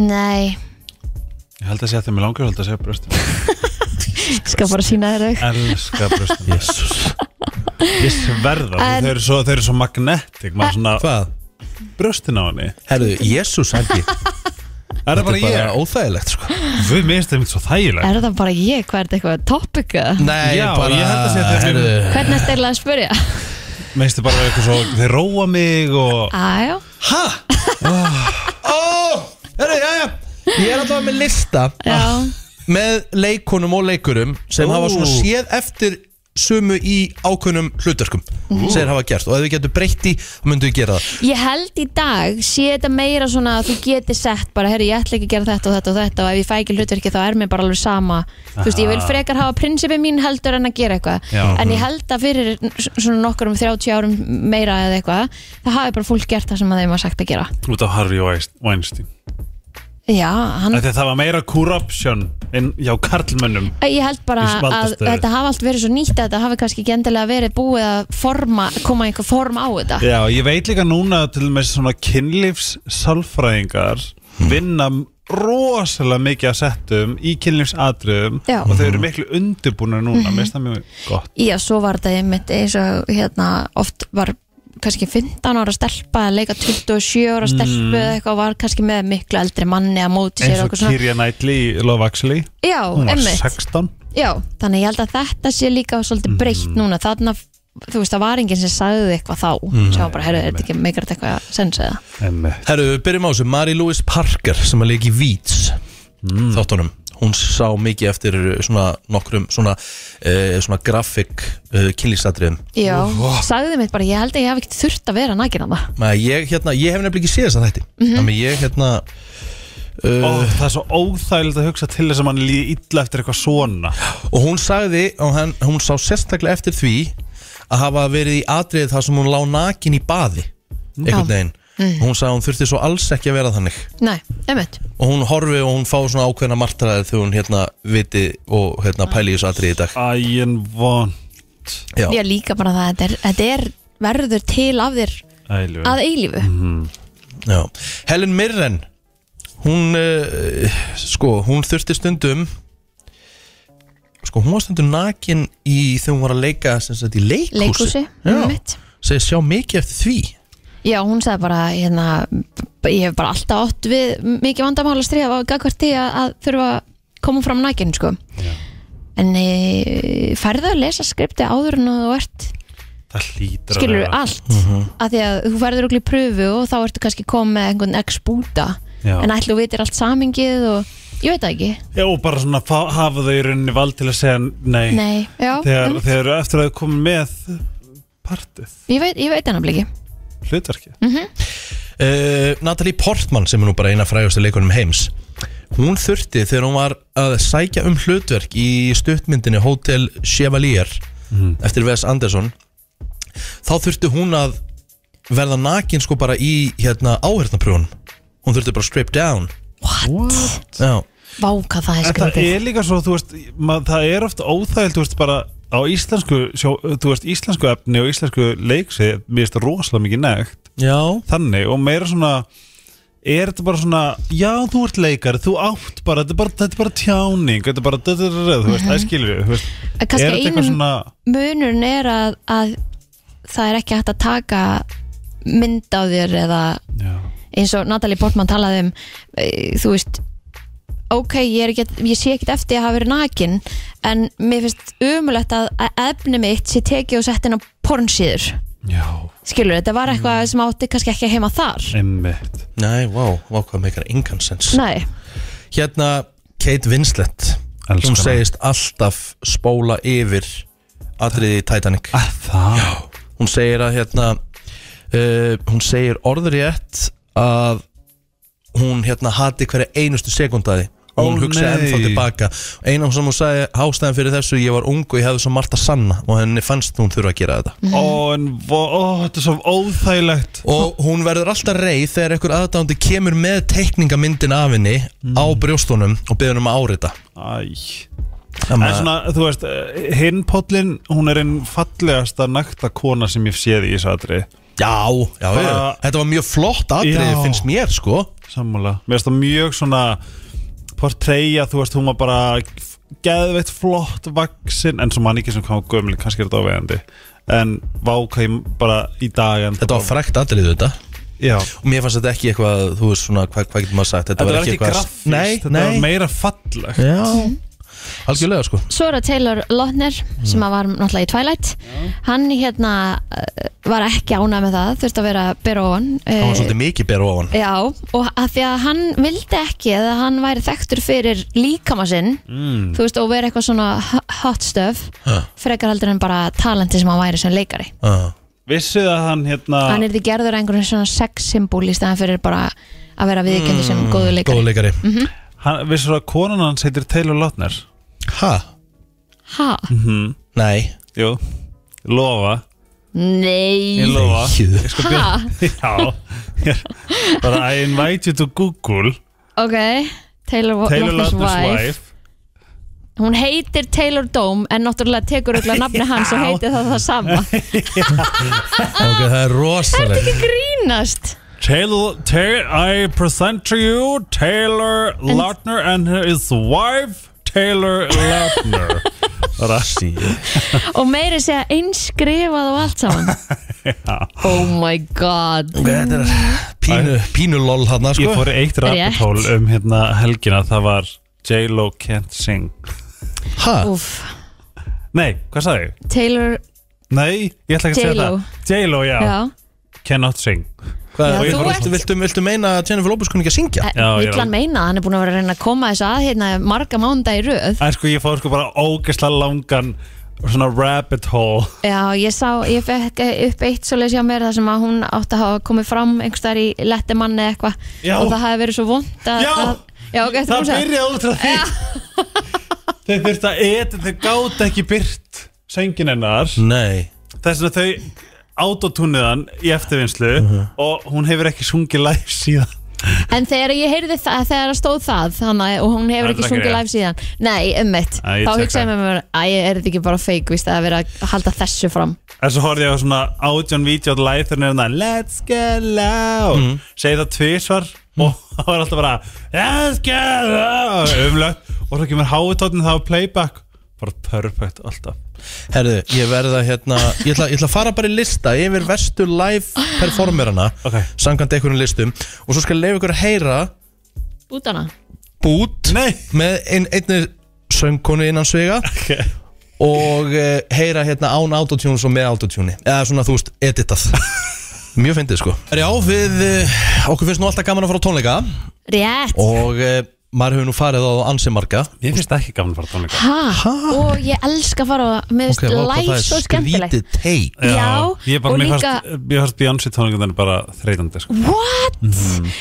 S2: Nei,
S5: ég held að segja þegar mér langar, ég held að segja bröstum
S2: skal bara sína þér auk
S5: elska bröstum
S1: jésús
S5: ég sverða,
S2: En-
S5: þau eru svo, þau eru svo magnetic maður svona,
S1: Hvað?
S5: bröstin á henni
S1: Herðu, jésús Helgi Þetta
S5: er það
S1: er
S5: bara
S1: bara
S5: ég?
S1: óþægilegt sko
S5: Við minnst það mér svo þægilegt
S2: Er það bara ég, hvað er þetta eitthvað topic eða?
S1: Nei,
S5: Já,
S1: bara
S5: ég held að segja þetta er-
S1: Herðu
S2: Hvernig ertu eiginlega að spyrja?
S5: Minnst þið bara vera eitthvað svo, þeir róa mig og
S2: Æjá,
S1: Hæ? Ó, herðu, já, já Ég er alltaf með lista
S2: já,
S1: með leikunum og leikurum sem
S5: Ú.
S1: hafa svona séð eftir sumu í ákveðnum hlutverkum sem þeir hafa gert og ef þau getur breytt í þá myndu við gera það
S2: ég held í dag sé þetta meira svona að þú geti sett bara, herru, ég ætla ekki að gera þetta og þetta og þetta og ef ég fæ ekki hlutverki þá er mér bara alveg sama Þú veist, ég vil frekar hafa prinsipi mín heldur en að gera eitthvað
S5: Já.
S2: en ég held að fyrir svona nokkur um 30 árum meira eða eitthvað það hafi bara fólk gert það sem að þeim var sagt að gera
S5: út af Harry Weist- Weinstein
S2: Já, hann,
S5: Mm. Af því að Það var meira corruption en hjá karlmönnum
S2: ég held bara
S5: Í
S2: að
S5: valdastöðu.
S2: þetta hafi allt verið svo nýtt að þetta hafi kannski ekki endilega verið búið að forma, koma einhver form á þetta Hmm.
S5: Já, ég veit líka núna til og með svona kynlífs sálfræðingar vinna rosalega mikið að settum í kynlífsadröðum
S2: Já. Hmm. Mhm.
S5: og þau eru miklu undirbúinu núna, mér finnst það mjög gott
S2: Já, svo var þetta einmitt eins og hérna oft var kannski 15 ára stelpa að leika 27 ára stelpu eða eitthvað var kannski með miklu eldri manni að móti sér
S5: eins
S2: og
S5: og
S2: eitthvað svona.
S5: Kirja Knightley í Love Actually
S2: Já,
S5: hún var
S2: einmitt.
S5: 16
S2: Já, þannig ég held að þetta sé líka svolítið breytt núna. Þarna, þú veist, það var enginn sem sagði eitthvað þá. Mm. Sjá bara, herru, er þetta ekki meikrætt eitthvað að sensa eða?
S5: einmitt.
S1: Herru, við byrjum á þessu Mary Louise Parker sem að leik í Víts þáttunum hún sá mikið eftir svona nokkrum svona, uh, svona grafik uh, kynlýsatriðum
S2: Já, sagði mitt bara, ég held að ég hef ekki þurft að vera nægin að það.
S1: Maður, ég, hérna, ég hef nefnilega ekki séð þess að þetta Þannig ég hérna
S5: Ó,
S2: Uh.
S5: það er svo óþægilegt að hugsa til þess að mann líði illa eftir eitthvað svona
S1: Og hún sagði, og hann, hún sá sérstaklega eftir því að hafa verið í atriðið þar sem hún lá nakin í baði einhvern veginn
S2: Mm.
S1: Hún sagði að hún þurfti svo alls ekki að vera þannig
S2: Nei, einmitt.
S1: Og hún horfi og hún fá svona ákveðna martraðir þegar hún hérna viti og hérna pæli í þessu atriði í dag
S5: ægin von
S1: Já,
S2: Ég líka bara það, þetta er, þetta er verður til af þér
S5: Ælu.
S2: að eilífu.
S1: já Helen Mirren Hún, uh, sko, hún þurfti stundum Sko, hún var stundum nakin í þegar hún var að leika sem sagt í leikhúsi
S2: Leikhúsi,
S1: Já,
S2: einmitt.
S1: segir sjá mikið eftir því
S2: Já, hún sagði bara, hérna, b- ég hef bara alltaf átt við mikið vandamál að stríða og gagvart því að, að þurfa að koma fram næginn, sko. En e, færðu að lesa skripti áður en þú ert,
S5: það hlýtur
S2: skilur
S5: vera.
S2: allt,
S5: Mhm.
S2: af því að þú færður okkur í pröfu og þá ertu kannski komið með einhvern ex-búta,
S5: Já.
S2: en ætlu veitir allt samingið og, ég veit það ekki,
S5: já, og bara svona fá- hafa þau í rauninni vald til að segja nei,
S2: nei, já, Um,
S5: þegar,
S2: einmitt.
S5: þegar eftir að þau komið með partið,
S2: ég veit, ég veit hennar bliki.
S5: hlutverki
S1: uh, Natalie Portman sem er nú bara eina frægastu leikunum heims hún þurfti þegar hún var að sækja um hlutverk í stuttmyndinni Hotel Chevalier eftir Wes Anderson þá þurfti hún að verða nakin sko bara í hérna áhörðnaprjónum hún þurfti bara strip down
S5: What?
S1: Já.
S2: Vá, hvað það er
S5: En það
S2: skriptið.
S5: er líka svo, þú veist, mað, það er oft óþægild, þú veist, bara á íslensku, sjó, þú veist, íslensku efni og íslensku leiksi, mér finnst það rosalega mikið nekt,
S1: Já.
S5: þannig, og meira svona, er þetta bara svona, já, þú ert leikari, þú átt bara, þetta er bara, þetta er bara tjáning, þetta er bara, þetta er, þú veist, það skilur við, þú veist,
S2: En
S5: er
S2: kannski
S5: þetta eitthvað
S2: einum-
S5: svona,
S2: munurinn er að, að það er ekki hægt að taka mynd á þér eða
S5: já,
S2: eins og Natalie Portman talaði um e, þú veist ok, ég, er ekki, ég sé ekkert eftir að hafa verið nakin en mér finnst umulegt að, að efni mitt sé tekið og sett inn á pornsýður
S5: já,
S2: skilur, þetta var eitthvað
S1: Mhm.
S2: sem átti kannski ekki heima þar
S5: einmitt,
S1: Nei, wow, wow, hvað meikar engan sens
S2: Nei,
S1: Hérna Kate Winslet
S5: Elskar
S1: Hún
S5: hana.
S1: segist alltaf spóla yfir atriði í Titanic
S5: að það, já,
S1: hún segir að hérna uh, hún segir orðrétt að hún hérna hati hverja einustu sekundaði og hún
S5: Ó,
S1: hugsa
S5: nei.
S1: ennþá tilbaka eina sem hún sagði ástæðan fyrir þessu ég var ung og ég hefði svo margt að sanna og henni fannst hún þurfa að gera þetta
S5: ó, en, vo- ó, þetta er svo óþægilegt,
S1: og hún verður alltaf reið þegar einhver aðdándi kemur með teikningamyndin af henni
S5: Mm.
S1: á brjóstunum og beður um að árita
S5: æj,
S1: Þannig
S5: En
S1: að-
S5: svona, þú veist, eh, hinn pollin, hún er einn fallegasta nakta kona sem ég séð í þessu atri
S1: já, já, já,
S5: Bara-
S1: þetta var mjög flott
S5: Já.
S1: atrið finnst mér sko
S5: Sammála Mér finnst það mjög svona portreyja, þú veist, hún var bara f- geðveitt flott vaksin en svo mann ekki sem kom gömli, kannski er þetta áveðandi en váka ég bara í dag en
S1: þetta var frækt atrið þetta
S5: Já
S1: og mér fannst þetta ekki eitthvað, þú veist svona, hvað, hvað getur maður sagt
S5: Þetta var ekki grafist,
S1: nei,
S5: þetta
S1: nei,
S5: var meira fallegt
S1: já, algjörlega sko
S2: svo er það Taylor Lautner sem að var náttúrulega í Twilight hann hérna eh, var ekki ánað með það, þurfti að vera bera ofan
S1: það var
S2: eh,
S1: svolítið mikið bera ofan
S2: Já, og að því að hann vildi ekki eða hann væri þekktur fyrir líkama sinn þú veist, og verið eitthvað svona h- hot stuff
S1: Ha.
S2: frekar heldur en bara talenti sem hann væri sem leikari
S1: uh.
S5: Vissuð að hann hérna
S2: hann er því gerður að einhverjum svona sex symbol í staðan fyrir bara að vera viðkendur sem góður leikari
S1: góðu leikari
S5: hann, Vissuð að konan hans heitir Taylor Lautner
S1: ha,
S2: Ha?
S1: nei
S5: Jú Lofa Ég
S2: Nei
S5: lofa
S1: Nei.
S5: Ég skal byrja Já Ég er Bara I invite you to Google
S2: Ok, Taylor,
S5: Taylor
S2: Lautner's
S5: Lautner's
S2: wife.
S5: wife
S2: Hún heitir Taylor Dome en náttúrulega tekur öll nafni hans og
S5: Já.
S2: heitir það það sama
S1: ok, það er rosalega
S2: Grínast
S5: Taylor, Taylor, I present to you Taylor Lautner and his wife Taylor Lautner Rassi
S2: og meiri segja einskrifað og allt saman oh my god
S1: Þetta er pínu, pínu lol hann
S5: Ég
S1: sko.
S5: fór í eitt rabbit
S2: Rétt.
S5: hole um hérna helgina það var J-Lo can't sing
S1: Ha?
S2: Úf,
S5: Nei, hvað sagði ég?
S2: Taylor
S5: Nei, ég ætla ekki að segja
S2: J.Lo.
S5: það J-Lo, já,
S2: já,
S5: cannot sing
S1: Hvað,
S2: Já,
S1: já,
S2: þú
S1: viltu,
S2: ert-
S1: viltu, viltu, meina að Jennifer Lopez kunni ekki að syngja?
S5: Já, já.
S2: vill hann meina hann er búin að vera að reyna að koma þessu að hérna marga mánda í röð
S5: En sko ég fór sko bara ógeðslega langan svona rabbit hole
S2: Já, ég sá, ég fekk upp eitt svoleiðis hjá mér þar sem að hún átti að hafa komið fram einhverstaðar í lettimann eða eitthvað
S5: Já.
S2: og það hafi verið svo vond að
S5: Já.
S2: að, já ok, þetta
S5: Það
S2: kom sér
S5: byrjaði út frá því Þeir þurfti að edit, þeir gáta ekki byrt söngin hennar
S1: Nei
S5: Þess að þau autotúniðan í eftirvinnslu og hún hefur ekki sungið live síðan
S2: En þegar ég heyrði það, þegar það stóð það þannig, og hún hefur
S5: Það er
S2: ekki
S5: ekki
S2: sungið
S5: rétt.
S2: live síðan Nei, ummitt,
S5: Æ, ég
S2: þá
S5: tek
S2: hugsaði
S5: það.
S2: mér mér Æ, er þetta ekki bara fake, víst, að vera að halda þessu fram
S5: En svo horfði ég á svona átjón vídeo live þegar nefnda Let's get loud segi það tvisvar og það var alltaf bara Let's get loud umlögt og svo kemur háutóttin það á playback bara perfect alltaf
S1: Herðu, ég verða hérna Ég ætla, ég ætla að fara bara í lista yfir verstu live performerana
S5: Ok.
S1: Samkvæmt einhvern listum Og svo skal leifa ykkur að heyra
S2: Bútana
S1: bút
S5: Nei
S1: Með ein, einni söngkonu innan svega
S5: okay.
S1: Og uh, heyra hérna án autotune og með autotune Eða svona þú veist, editað Mjög fyndið sko Já, við, uh, okkur finnst nú alltaf gaman að fara á tónleika
S2: Rétt
S1: Og uh, maður hefur nú farið á ansi marga
S5: Mér finnst það ekki gaman að fara á tónleika
S2: Ha? Og ég elska að fara á- Mér finnst
S1: Ok, vá, hvað
S2: live
S1: það er
S2: svo skemmtilegt
S1: Skrítið teik
S2: Já,
S5: Ég bara,
S2: og
S5: mér
S2: líka-
S5: fannst, mér fannst Beyoncé tónleikandar bara þreytandi sko.
S2: What?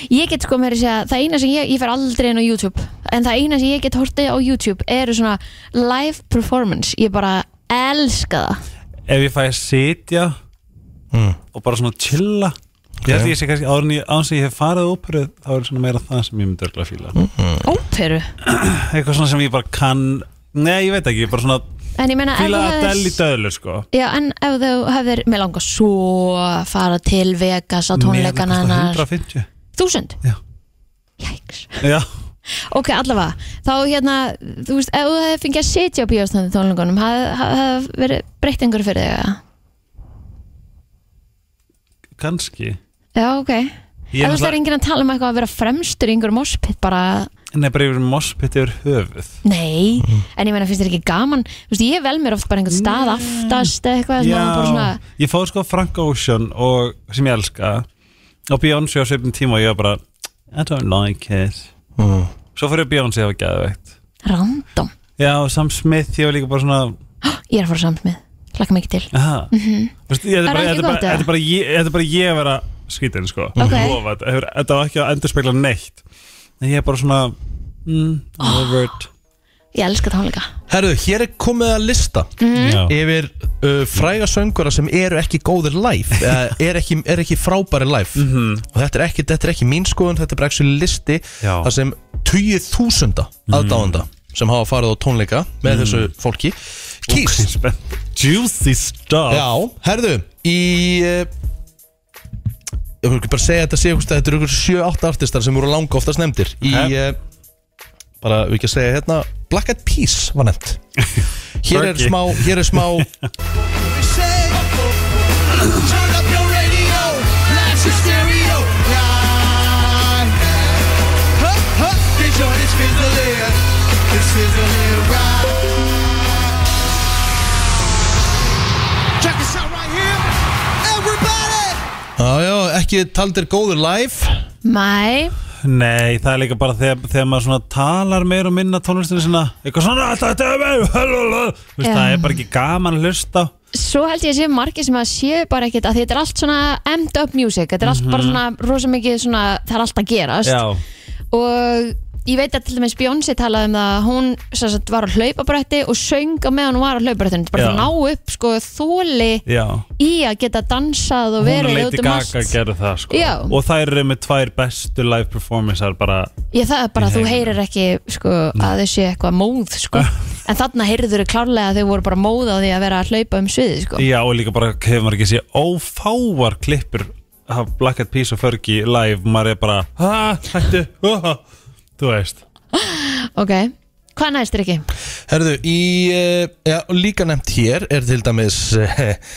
S2: Ég get sko með þess að það eina sem ég, ég fer aldrei inn á YouTube en það eina sem ég get hortið á YouTube eru svona live performance ég bara elska það
S5: Ef ég fæ að sitja og bara svona chilla Ég held að ég sé kannski árun ég án sem ég hef farið á óperu þá er svona meira það sem ég myndi örgulega fíla
S2: Óperu
S5: Eitthvað svona sem ég bara kann Nei, ég veit ekki, ég bara svona
S2: En ég meina ef
S5: fíla
S2: þú
S5: að
S2: hefðir-
S5: del í döðlu sko.
S2: Já, en ef þú hefðir, mér langar svo að fara til Vegas á tónleikana
S5: Mér er
S2: hennar
S5: kostar 150
S2: Þúsund?
S5: Já.
S2: Jæks
S5: Já,
S2: Ok, allavega, þá hérna þú veist, ef þú hefði fengið að sitja á bíóstæðum tónleikunum hafði haf, haf verið breytt einhverju fyrir þig eða?
S5: kannski
S2: Já, ok Ef þú
S5: Ég er
S2: veist, það er enginn að tala um eitthvað að vera fremstur í einhverjum morspitt bara
S5: Nei, bara yfir mospitt yfir höfuð
S2: Nei,
S5: Mm.
S2: en ég meina finnst þér ekki gaman Þú veist, ég vel mér oft bara einhvern stað aftast eða eitthvað sem maður bara svona
S5: ég fóð sko Frank Ocean og, sem ég elska og Beyoncé á svipin tíma og ég var bara I don't like it
S1: Mm.
S5: Svo fór ég á Beyoncé að hafa geðveikt
S2: random
S5: Já, og Sam Smith, ég var líka bara svona
S2: Ég er að fara samt með, hlakka mikið til
S5: aha, mm -hmm. Vist,
S2: Mhm. Er
S5: ég, þetta er bara,
S2: ekki
S5: þetta er
S2: gott,
S5: bara,
S2: eða?
S5: þetta er bara, ég- þetta er bara ég að vera skrítin sko
S2: Ok.
S5: Lofa, þetta hefur- Þetta var ekki að endurspegla neitt En ég er bara svona mm,
S2: Ah.
S5: oh.
S2: Ég elska tónleika
S1: Herðu, hér er komið að lista
S5: Já.
S2: Mm.
S1: yfir uh, fræga söngura sem eru ekki góðir live eða er ekki, er ekki frábæri live
S5: Mhm.
S1: og þetta er ekki, þetta er ekki mín skoðun þetta er bara ekki listi
S5: Já. Mhm.
S1: þar sem 20.000 aðdáðanda sem hafa farið á tónleika með þessu fólki kýst
S5: Juicy stuff
S1: Já, herðu Í uh, Ég vil ekki bara segja að þetta sé þú veist, að Þetta eru ykkur 7-8 artistar sem voru langa oftast nefndir
S5: Ok.
S1: Í uh, Bara við ekki að segja hérna Black Eyed Peas var nefnd Hér er
S5: Fergie.
S1: smá Hér er smá Já, já, ekki taldir góður live
S2: Mæ,
S5: Nei, það er líka bara þegar, þegar maður svona talar meir og minna tónlistinu sinna eitthvað svona, þetta er meir Vist,
S2: Já.
S5: það er bara ekki gaman að hlusta
S2: svo held ég að sé margir sem að séu bara ekkit að þetta er allt svona end up music, þetta er allt
S5: Mhm.
S2: bara svona rosa mikið svona, það er allt að gerast og ég veit að til dæmis Beyoncé talaði um það að hún sem sagt, var á hlaupabrætti og söng á meðan hún var á hlaupabrættinu bara til að
S5: Já.
S2: ná upp sko þóli
S5: já
S2: í að geta dansað og
S5: Hún
S2: verið
S5: leiti
S2: um
S5: gaga að gera það sko.
S2: Já.
S5: og þær eru með tvær bestu live performancear bara,
S2: ég það er bara
S5: í
S2: að þú
S5: heiminum.
S2: heyrir ekki sko, að þau séu eitthvað móð sko. en þarna heyrður þau klárlega að þau voru bara móð á því að vera að hlaupa um sviði sko.
S5: já og líka bara hefur maður ekki sé ófáar klippur hafa Black Eyed Peas og Fergie live maður er bara, ha, hættu uh, þú veist
S2: Ok, hvað næst er ekki?
S1: Herðu, í, uh, já, og líka nefnt hér er til dæmis uh,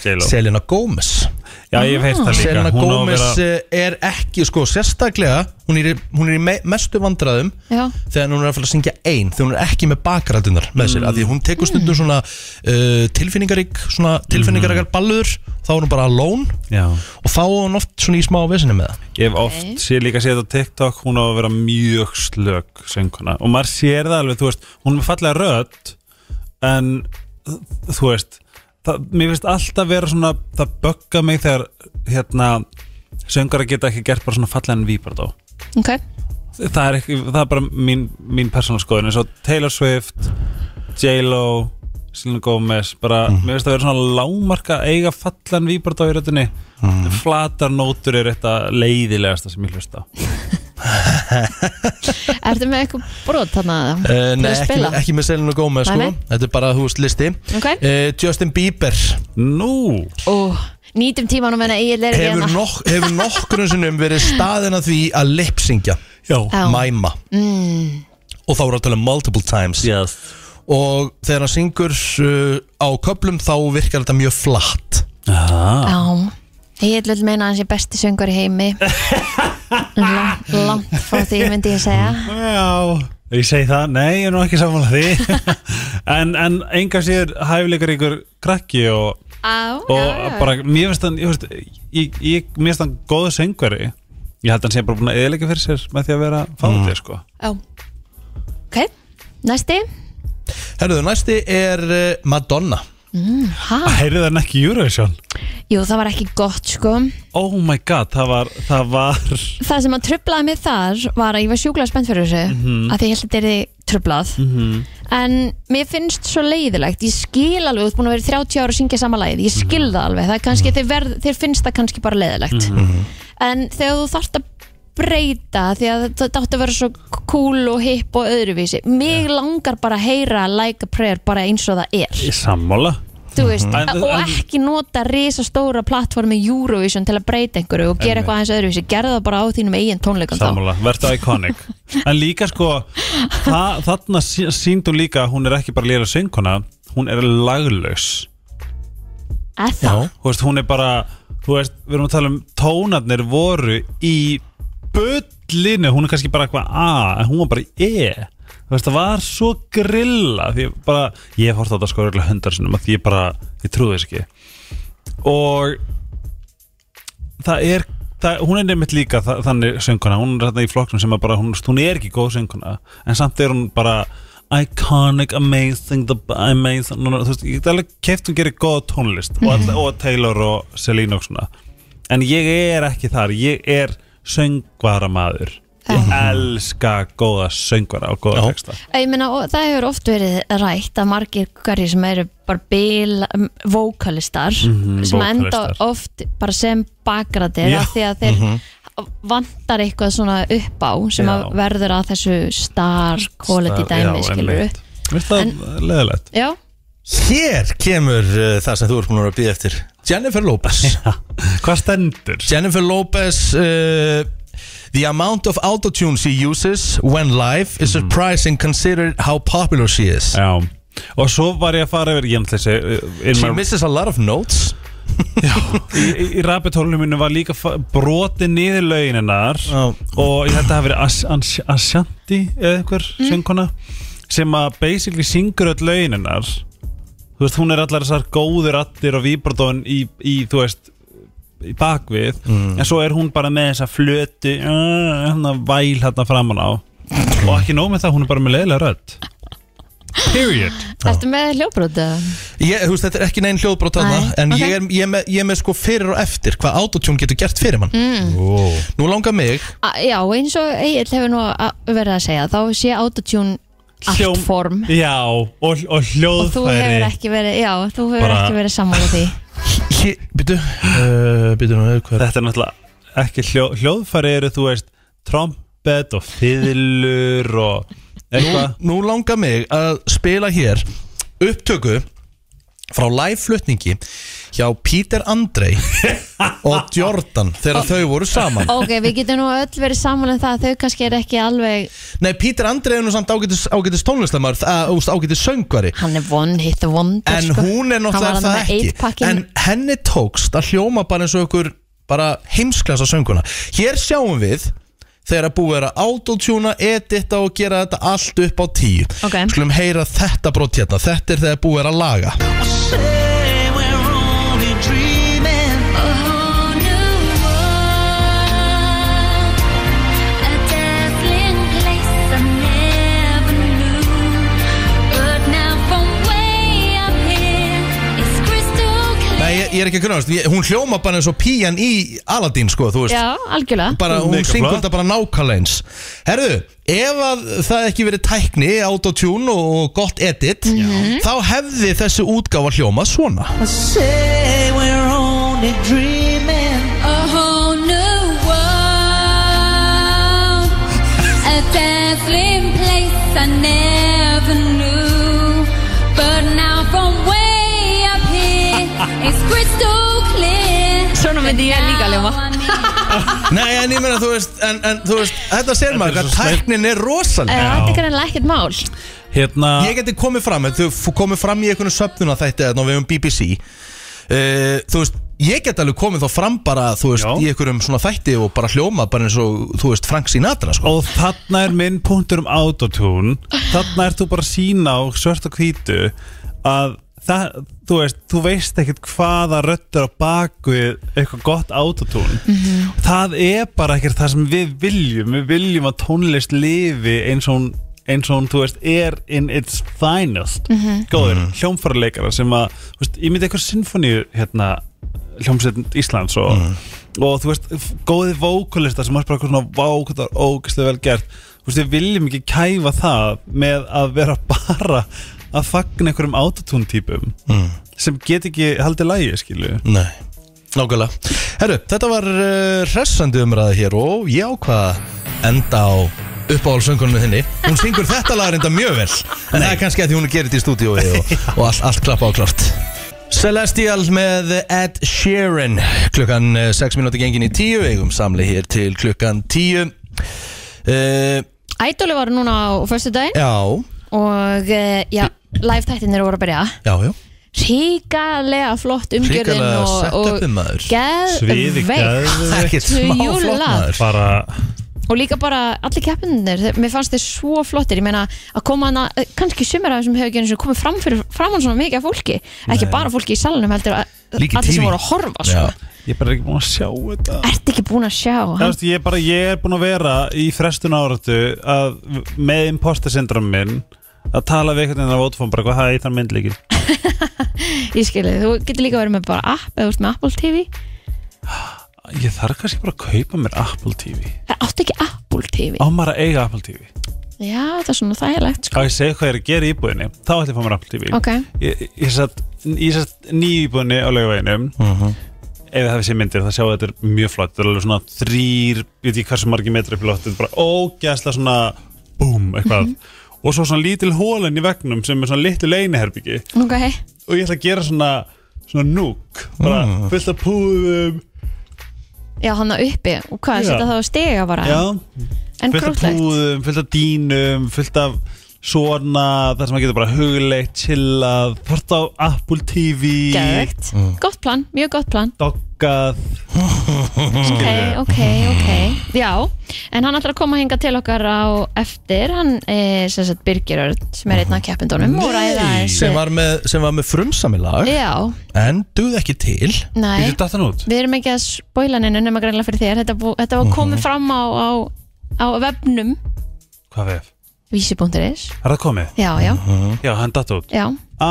S5: J-Lo.
S1: Selena Gomez
S5: já, ég veist það líka
S1: Selena
S5: hún á að
S1: Gomez
S5: vera,
S1: vera... er ekki, sko, sérstaklega hún er, í- hún er í me mestu vandræðum
S2: Já,
S1: þegar hún er að fara að syngja ein þegar hún er ekki með bakræðunar með sér af því að hún tekur stundum svona uh, tilfinningarík, svona
S5: Mhm.
S1: tilfinningaríkar ballur þá er hún bara alone
S5: já,
S1: og þá er hún oft svona í smá vesinni með það
S5: ég hef oft sé líka séð á TikTok, hún á að vera mjög slög sönguna og maður sér það alveg, þú veist, hún er með fallega rödd en þú veist, það, mér finnst alltaf vera svona, það bögga mig þegar hérna, söngara geta ekki gert bara svona fallegan víbardó
S2: ok
S5: það er, ekki, það er bara mín, mín persónal skoðin eins og Taylor Swift J-Lo Selena Gomez bara, mér finnst það að vera svona lámarka eiga fallan víbardá í röttinni flatar nótur er þetta leiðilegasta sem ég hlusta á
S2: Ertu með eitthvað brot þarna?
S1: uh,
S2: Til
S1: Nei,
S2: að
S1: ekki,
S2: spila?
S1: ekki með Selena Gomez,
S2: Nei,
S1: sko
S2: nei.
S1: þetta er bara, þú veist, listi
S2: Ok.
S1: uh, Justin Bieber
S5: Nú,
S2: Ó, nýtum tímanum en að ég er ekki
S1: hefur,
S2: hérna.
S1: nok hefur nokkurnu sinnum verið staðin að því að lipsingja
S5: já
S2: Já.
S1: mæma mm. og þá er að tala um multiple times
S5: yes.
S1: og þegar hann syngur uh, á köplum þá virkar þetta mjög flatt
S5: ah,
S2: Já, ég vil meina að hans er besti söngur í heimi langt, langt frá því myndi ég segja
S5: Já, ég segi það, nei, ég er nú ekki sammála því en, en enga sér hæfileikar ykkur krakki og
S2: Á,
S5: og
S2: já, já.
S5: bara, mér finnst hann ég, veist, ég, ég, mér finnst hann góðu söngveri ég held hann sé bara búin að eðilega fyrir sér með því að vera fáðið sko
S2: Já. Ok, næsti
S1: Herruðu, næsti er uh, Madonna
S2: ha?
S5: Hærið Ah. hann ekki í Eurovision?
S2: Jú, það var ekki gott sko
S5: Oh my god, það var, það var
S2: Það sem að tröflaði mig þar var að ég var sjúklega spennt fyrir þessu að því ég held að þetta er tröflað en mér finnst svo leiðilegt ég skil alveg, þú ert búin að vera í 30 ára að syngja sama lagið, ég skil það alveg það er kannski, þeir, verð, þeir finnst það kannski bara leiðilegt en þegar þú þarft að breyta því að þetta átti að vera svo cool og hip og öðruvísi mig langar bara að heyra like a prayer bara eins og það er
S5: í sammála
S2: þú veist,
S5: En-
S2: og
S5: en-
S2: ekki nota risastóra plattformi Eurovision til að breyta einhverju og gera
S5: Einmitt.
S2: eitthvað aðeins öðruvísi, gerða það bara á þínum eigin tónleikum þá
S5: sammála, verður iconic en líka sko það, þarna sí- sýndi hún líka að hún er ekki bara lélega söngkona, hún er laglaus
S2: Er það?
S5: þú veist, hún er bara þú veist, við erum að tala um tónarnir voru í bullinu, hún er kannski bara eitthvað A en hún var bara í E þú veist, það var svo grilla því ég bara, ég hef hort á þetta sko örugglega hundar sinum að ég bara, ég trúi þess ekki og það er Það, hún er nefnitt líka þa þannig sönguna hún er þarna í flokknum sem að bara hún, hún er ekki góð sönguna en samt er hún bara iconic, amazing, the, amazing hún, er- þú veist, ég get alveg keft hún gerir góð tónlist og,
S2: Mhm.
S5: all, og Taylor og Selena og svona en ég er ekki þar, ég er söngvaramaður ég elska góða söngvara og góða
S1: Já.
S5: texta
S2: Ég meina, og það hefur oft verið rætt að margir hverjir sem eru bara bil, um, vókalistar sem enda
S5: Mhm. vókalistar.
S2: oft bara sem bakgræðir
S5: Já. Mhm.
S2: af því að þeir vantar eitthvað svona upp á sem
S5: Já.
S2: að verður að þessu star quality
S5: Það-
S2: dæmi,
S5: já,
S2: skilur við
S5: einmitt. Mér finnst það leðilegt
S2: Já,
S1: Hér kemur uh, það sem þú ert búin að býða eftir Jennifer Lopez
S5: Hvað stendur?
S1: Jennifer Lopez uh, The amount of autotune she uses when live is surprising considering how popular she is
S5: Já Og svo var ég að fara yfir, ég ætla þessi uh, in
S1: She
S5: my-
S1: misses a lot of notes
S5: í, í- í rapetólunum minu var líka fa- brotið niður lögininnar
S1: Já.
S5: og ég held að það hafi verið As- Ans- Ashanti eða einhver
S2: Mm.
S5: söngkona sem að basically syngur öll lögininnar þú veist, hún er allar þessar góður rattir og víbordón í, í, þú veist í bakvið, en svo er hún bara með þessa flötu, uh, hérna væl hérna framan á og ekki nóg með það, hún er bara með leiðilega rödd period
S2: ertu með hljóbrútið?
S1: Ég, þú veist, þetta er ekki neinn hljóðbrót
S2: Nei,
S1: þarna En
S2: ok.
S1: ég, er, ég, er með, ég er með sko fyrir og eftir Hvað autotune getur gert fyrir mann
S2: Mm.
S5: oh.
S1: Nú langar mig
S2: Já, eins og Egil hefur nú að- verið að segja þá sé autotune allt form
S5: já, og, og
S2: og
S5: hljóðfæri
S2: þú hefur ekki verið, já, þú hefur
S5: Bara-
S2: ekki verið sammála því
S1: Hér, Býtu uh, Býtu nú, hvað er
S5: þetta er náttúrulega ekki hljó, hljóðfæri eru þú veist trompet og fiðlur og eitthvað
S1: Nú langar mig að spila hér Upptöku Frá live flutningi hjá Peter Andrei og Jordan þegar þau voru saman
S2: Ok, við getum nú öll verið saman en það að þau kannski er ekki alveg
S1: Nei, Peter Andrei er nú samt ágætis, ágætis tónlistamar ágætis söngvari
S2: Hann er one hit the wonder
S1: en
S2: sko.
S1: hún er náttúrulega
S2: Hann var
S1: það
S2: þarna með
S1: ekki
S2: eight-packin.
S1: en henni tókst að hljóma bara eins og ykkur bara heimsklasa sönguna hér sjáum við þegar að búið er að autotuna, edita og gera þetta allt upp á tíu
S2: Ok.
S1: skulum heyra þetta brot hérna þetta er þegar búið er að laga Nei, ég, ég er ekki að grunast, ég, hún hljóma bara eins og píjan í Aladdin sko, þú veist
S2: Já, algjörlega
S1: bara, hún
S5: Mega
S1: syngur
S5: flott.
S1: þetta bara nákvæmlega eins Herðu, ef að það ekki verið tækni, autotune og, og gott edit
S2: Mhm.
S1: þá hefði þessi útgáfa hljóma svona
S6: Crystal clear
S2: Svona myndi ég líka ljóma
S1: Nei, en ég meina, þú veist, en, en, þú veist þetta ser
S5: Þetta er
S1: maður,
S5: svo
S1: að
S5: snill.
S1: tæknin er rosalega
S2: Eh, Þetta er greinlega ekkert mál
S5: Hérna
S1: Ég geti komið fram, ef þú f- komið fram í einhvern söpnuna þetta eða við um BBC uh, Þú veist, ég get alveg komið þá fram bara, þú veist,
S5: Já.
S1: í einhverjum svona þætti og bara hljóma bara eins og, þú veist, Frank Sinatra, sko
S5: Og þarna er minn punktur um autotune Þarna ert þú bara að sína á svört og hvítu að það, þú veist, þú veist ekkert hvaða röddur á baku eitthvað gott autotune Það er bara ekkert það sem við viljum Við viljum að tónlist lifi eins og hún eins og hún, þú veist, er in its finest góður, mm sem að, þú veist, ég myndi eitthvað sinfoníu hérna, hljómsveit Íslands og, og þú veist, f- góði vókulista sem er bara eitthvað svona vókutar ógæslega vel gert þú veist, við viljum ekki kæfa það með að vera bara að fagna einhverjum autotune típum sem get ekki haldið lægi, skilu
S1: Nei, nákvæmlega Herru, þetta var uh, hressandi umræða hér og ég ákvað að enda á uppáhaldsöngunum þinni Hún syngur þetta lag reynda mjög vel En það er kannski að því hún gerir þetta í stúdíói og, og allt, allt klappa á klart Celestial með Ed Sheeran Klukkan 6 minúti gengin í 10 Við eigum samli hér til klukkan 10 uh,
S2: Ædóli var núna á förstu daginn
S1: Já,
S2: og eh, já, live þættinir voru að byrja
S1: já, já
S2: Ríkalega flott umgjörðin
S1: Hrikalega
S2: og, og
S1: setupið, maður.
S5: Sviði
S2: geðveikt
S5: geðveikt.
S1: Ekkert
S2: Til
S1: smá
S2: júlla.
S1: flott maður
S5: bara,
S2: og líka bara allir keppinir mér fannst þeir svo flottir, ég meina að koma hana, kannski sumir af þessum hefur ekki einu sinni komið fram fyrir framann svona mikið af fólki ekki bara fólki í salunum heldur að
S1: Líka í
S2: allir
S1: TV.
S2: sem voru að horfa
S1: Já.
S2: sko.
S5: ég er bara ekki búin að sjá þetta
S2: ert ekki búin að sjá
S5: Það
S2: hann,
S5: veist, ég, er bara, ég er búin að vera í frestun áratu að með imposter syndrom minn að tala við einhvern veginn á Vodafone bara hvað, hæ, það er myndleikir
S2: ég skilði, þú getur líka verið með bara app eða þú ert með Apple TV
S5: Ég þarf kannski bara að kaupa mér Apple TV
S2: það átt Eh, ekki Apple TV
S5: Á maður að eiga Apple TV
S2: já, það er svona þægilegt
S5: Á
S2: sko.
S5: ég segi hvað ég er að gera í íbúðinni Þá ætlum ég að fá mér Apple TV
S2: ok,
S5: Ég, ég satt, ég satt nýju íbúðinni á laugaveginum
S1: Mhm.
S5: Ef það við sé myndir þá sjáu að þetta er mjög flott Þetta er alveg svona þrýr, ég veit ekki hversu margi metri upp í loftið Bara ógæsla svona Búm, eitthvað
S2: Mhm.
S5: Og svo svona lítil hólinn í vegnum sem er svona litlu leiniherbyggi
S2: ok,
S5: Og ég ætla að gera svona, svona núk Bara fullt af púðum
S2: já hann að uppi og hvað,
S5: Já.
S2: setja það á stiga bara
S5: Já,
S2: Ah. en
S5: fullt af
S2: krútlegt
S5: púðum, fullt af dýnum fullt af svona þar sem maður getur bara hugleikt, chillað hort á Apple TV
S2: Geðvegt. gott plan, mjög gott plan
S5: doggað
S2: ok, ok, ok Já, en hann ætlar að koma hinga til okkar á eftir hann, eh, sem sagt Birgir Örn sem er einn af keppindunum og ræða eins
S1: sem var með, sem var með frumsamilag
S2: Já,
S1: en duð ekki til
S2: næ,
S5: Býtu dattan út
S2: við erum ekki að spoila neinu nema greinlega fyrir þér, þetta, bú, þetta var
S1: Mhm.
S2: komið fram á, á, á vefnum
S5: Hvað vef?
S2: vísi.is
S5: Er það komið?
S2: Já, já,
S5: Já, hann datt út
S2: já
S5: Æ,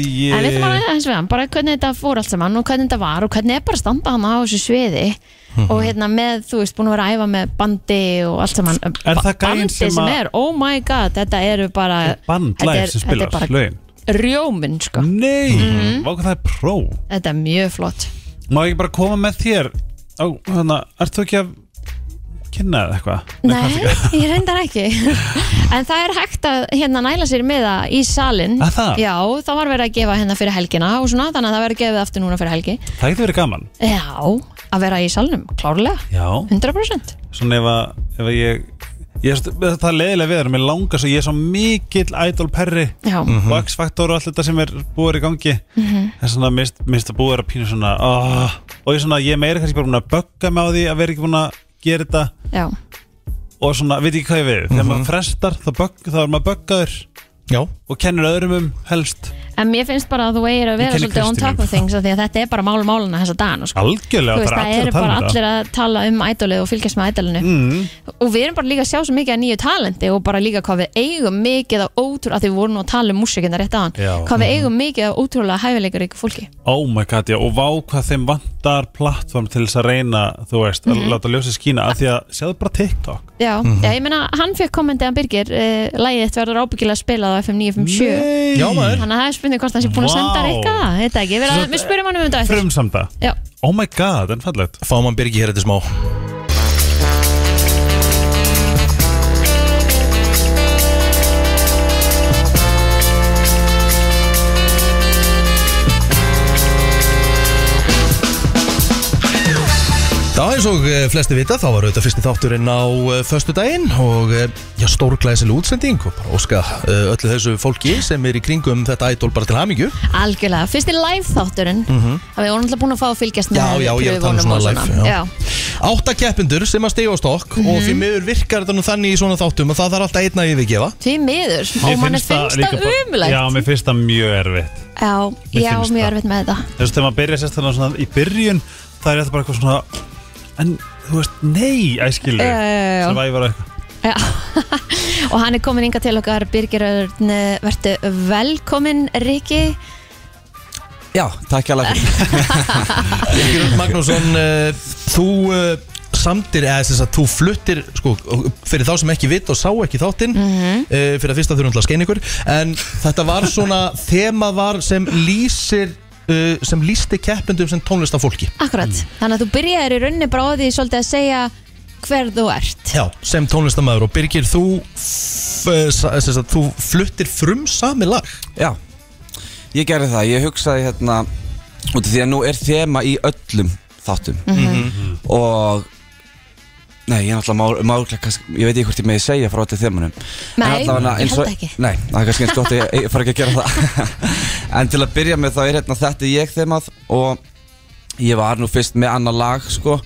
S5: ég...
S2: En við þurfum að ræða eins við hann, bara hvernig þetta fór allt saman og hvernig þetta var og hvernig er bara að standa hann á þessu sviði
S5: Mhm.
S2: og hérna með, þú veist, búin að vera að æfa með bandi og allt saman
S5: Er það gæinn
S2: Bandi
S5: sem
S2: sem,
S5: að-
S2: er, oh my god, þetta eru bara
S5: Band
S2: Þetta
S5: live
S2: er-
S5: sem
S2: þetta
S5: spilar
S2: er bara-
S5: lögin
S2: rjóminn, sko
S5: Nei, mm hvað það er pró
S2: Þetta er mjög flott
S5: Má ég ekki bara koma með þér Ó, þannig, ert þú ekki að kynna eða eitthvað
S2: Nei, ég reyndar ekki En það er hægt að hérna næla sér með það í salin
S5: Að það?
S2: Já, það var verið að gefa hérna fyrir helgina og svona, þannig að það verið gefið aftur núna fyrir helgi
S5: Það getur verið gaman
S2: Já, að vera í salnum, klárlega
S5: Já
S2: 100%
S5: Svona ef að, ef að ég, ég er svo- Það er leiðilega við erum Mér langar svo ég er svo mikill idol perri
S2: Já, Mhm.
S5: og X-Factor og allt þetta sem er búið í gangi en svona mist, mist að búið er að pínu svona oh, og ég, svona, ég er meira kannski bara búin að bögga mig á því að vera ekki búin að gera þetta
S2: já,
S5: og svona, veit ekki hvað ég við þegar
S2: Mhm.
S5: maður frestar, þá, bögg, þá er maður böggaður
S6: Já,
S5: og kennir öðrum um helst
S2: en mér finnst bara að þú eigir að vera
S5: kenni
S2: svolítið on
S5: Kristínu.
S2: top of things af því að þetta er bara mál málana þessa dagana sko.
S5: algjörlega,
S2: Þú veist,
S5: bara
S2: það eru bara allir að tala um ædolið og fylgjast með ædolinu
S5: Mm.
S2: og við erum bara líka að sjá svo mikið að nýju talenti og bara líka hvað við eigum mikið af ótrúlega, að því við vorum nú að tala um músikina rétt aðan,
S5: Já.
S2: hvað við eigum mikið af ótrúlega hæfileikar ykkur fólki.
S5: oh my god, já, og vá hvað þeim vantar plattform til þess að reyna þú veist,
S2: Mhm.
S5: að láta ljósið skína af því að sjáðu bara TikTok
S2: Já, já ég meina, hann fekk kommentið að Birgir, uh, lægið þitt verður ábyggilega spilað á FM 957,
S6: já maður
S2: þannig að það er spurning hvort hann sé búin að
S5: Vá.
S2: senda reyka það, þetta ekki, við, við spurjum hann um þetta eftir.
S5: frumsamda,
S2: Já,
S5: oh my god, en fallegt
S6: Fáum hann Birgi hér eftir smá Já, eins og eh, flesti vita, þá var auðvitað fyrsti þátturinn á föstu daginn og eh, já, stórglæsileg útsending og bara óska eh, öllu þessu fólki sem er í kringum þetta idol bara til hamingju.
S2: algjörlega, fyrsti live þátturinn, að við vorum alltaf búin að fá að fylgjast með
S6: Já, já, ég er að tala um
S2: pröfunum og
S6: svona live, já.
S2: Já.
S6: Átta keppendur sem að stiga á stokk og því miður virkar þetta nú þannig í svona þáttum að það þarf alltaf einn að yfirgefa.
S2: Því miður,
S5: Mér
S2: og mann
S5: finnst það
S2: finnst
S5: líka
S2: það
S5: bara-
S2: umulegt
S5: Já, mér finnst það mjög erfitt
S2: Já,
S5: Mér
S2: ég á
S5: finnst
S2: mjög
S5: það.
S2: erfitt með þetta
S5: Þú veist, þegar maður byrja sérstaklega svona í byrjun Það er þetta bara eitthvað svona En, þú veist, nei, æskilur
S2: Já, já, já, já.
S5: Survivor og eitthvað
S2: Já. Og hann er komin inga til okkar Birgir Örn, verðu velkomin Riki
S7: Já, takk hjá fyrir
S6: Birgir Örn Magnússon uh, þú uh, samtir eða þess að þú fluttir sko, fyrir þá sem ekki vitt og sá ekki þáttinn mm fyrir að fyrsta þurfum til að skeina ykkur en þetta var svona þemað var sem lýsir uh, sem lýsti keppendum sem tónlistafólki
S2: Akkurat, þannig að þú byrjaðir í rauninni bara á því svolítið að segja hver þú ert
S6: Já, sem tónlistamæður og Birgir þú, f- eh, sa- sem sagt, þú fluttir frum sami lag
S7: Já, ég gerði það, ég hugsaði hérna út af því að nú er þema í öllum þáttum og nei, ég er náttúrulega málklæk ég veit ekki hvort ég meði segja frá þetta þemanum En
S2: Nei,
S7: allavega
S2: ég
S7: eins
S2: held ekki
S7: Nei, það er kannski eins gott að ég, ég fara ekki að gera það En til að byrja með þá er hérna þetta ég þemað og ég var nú fyrst með annar lag sko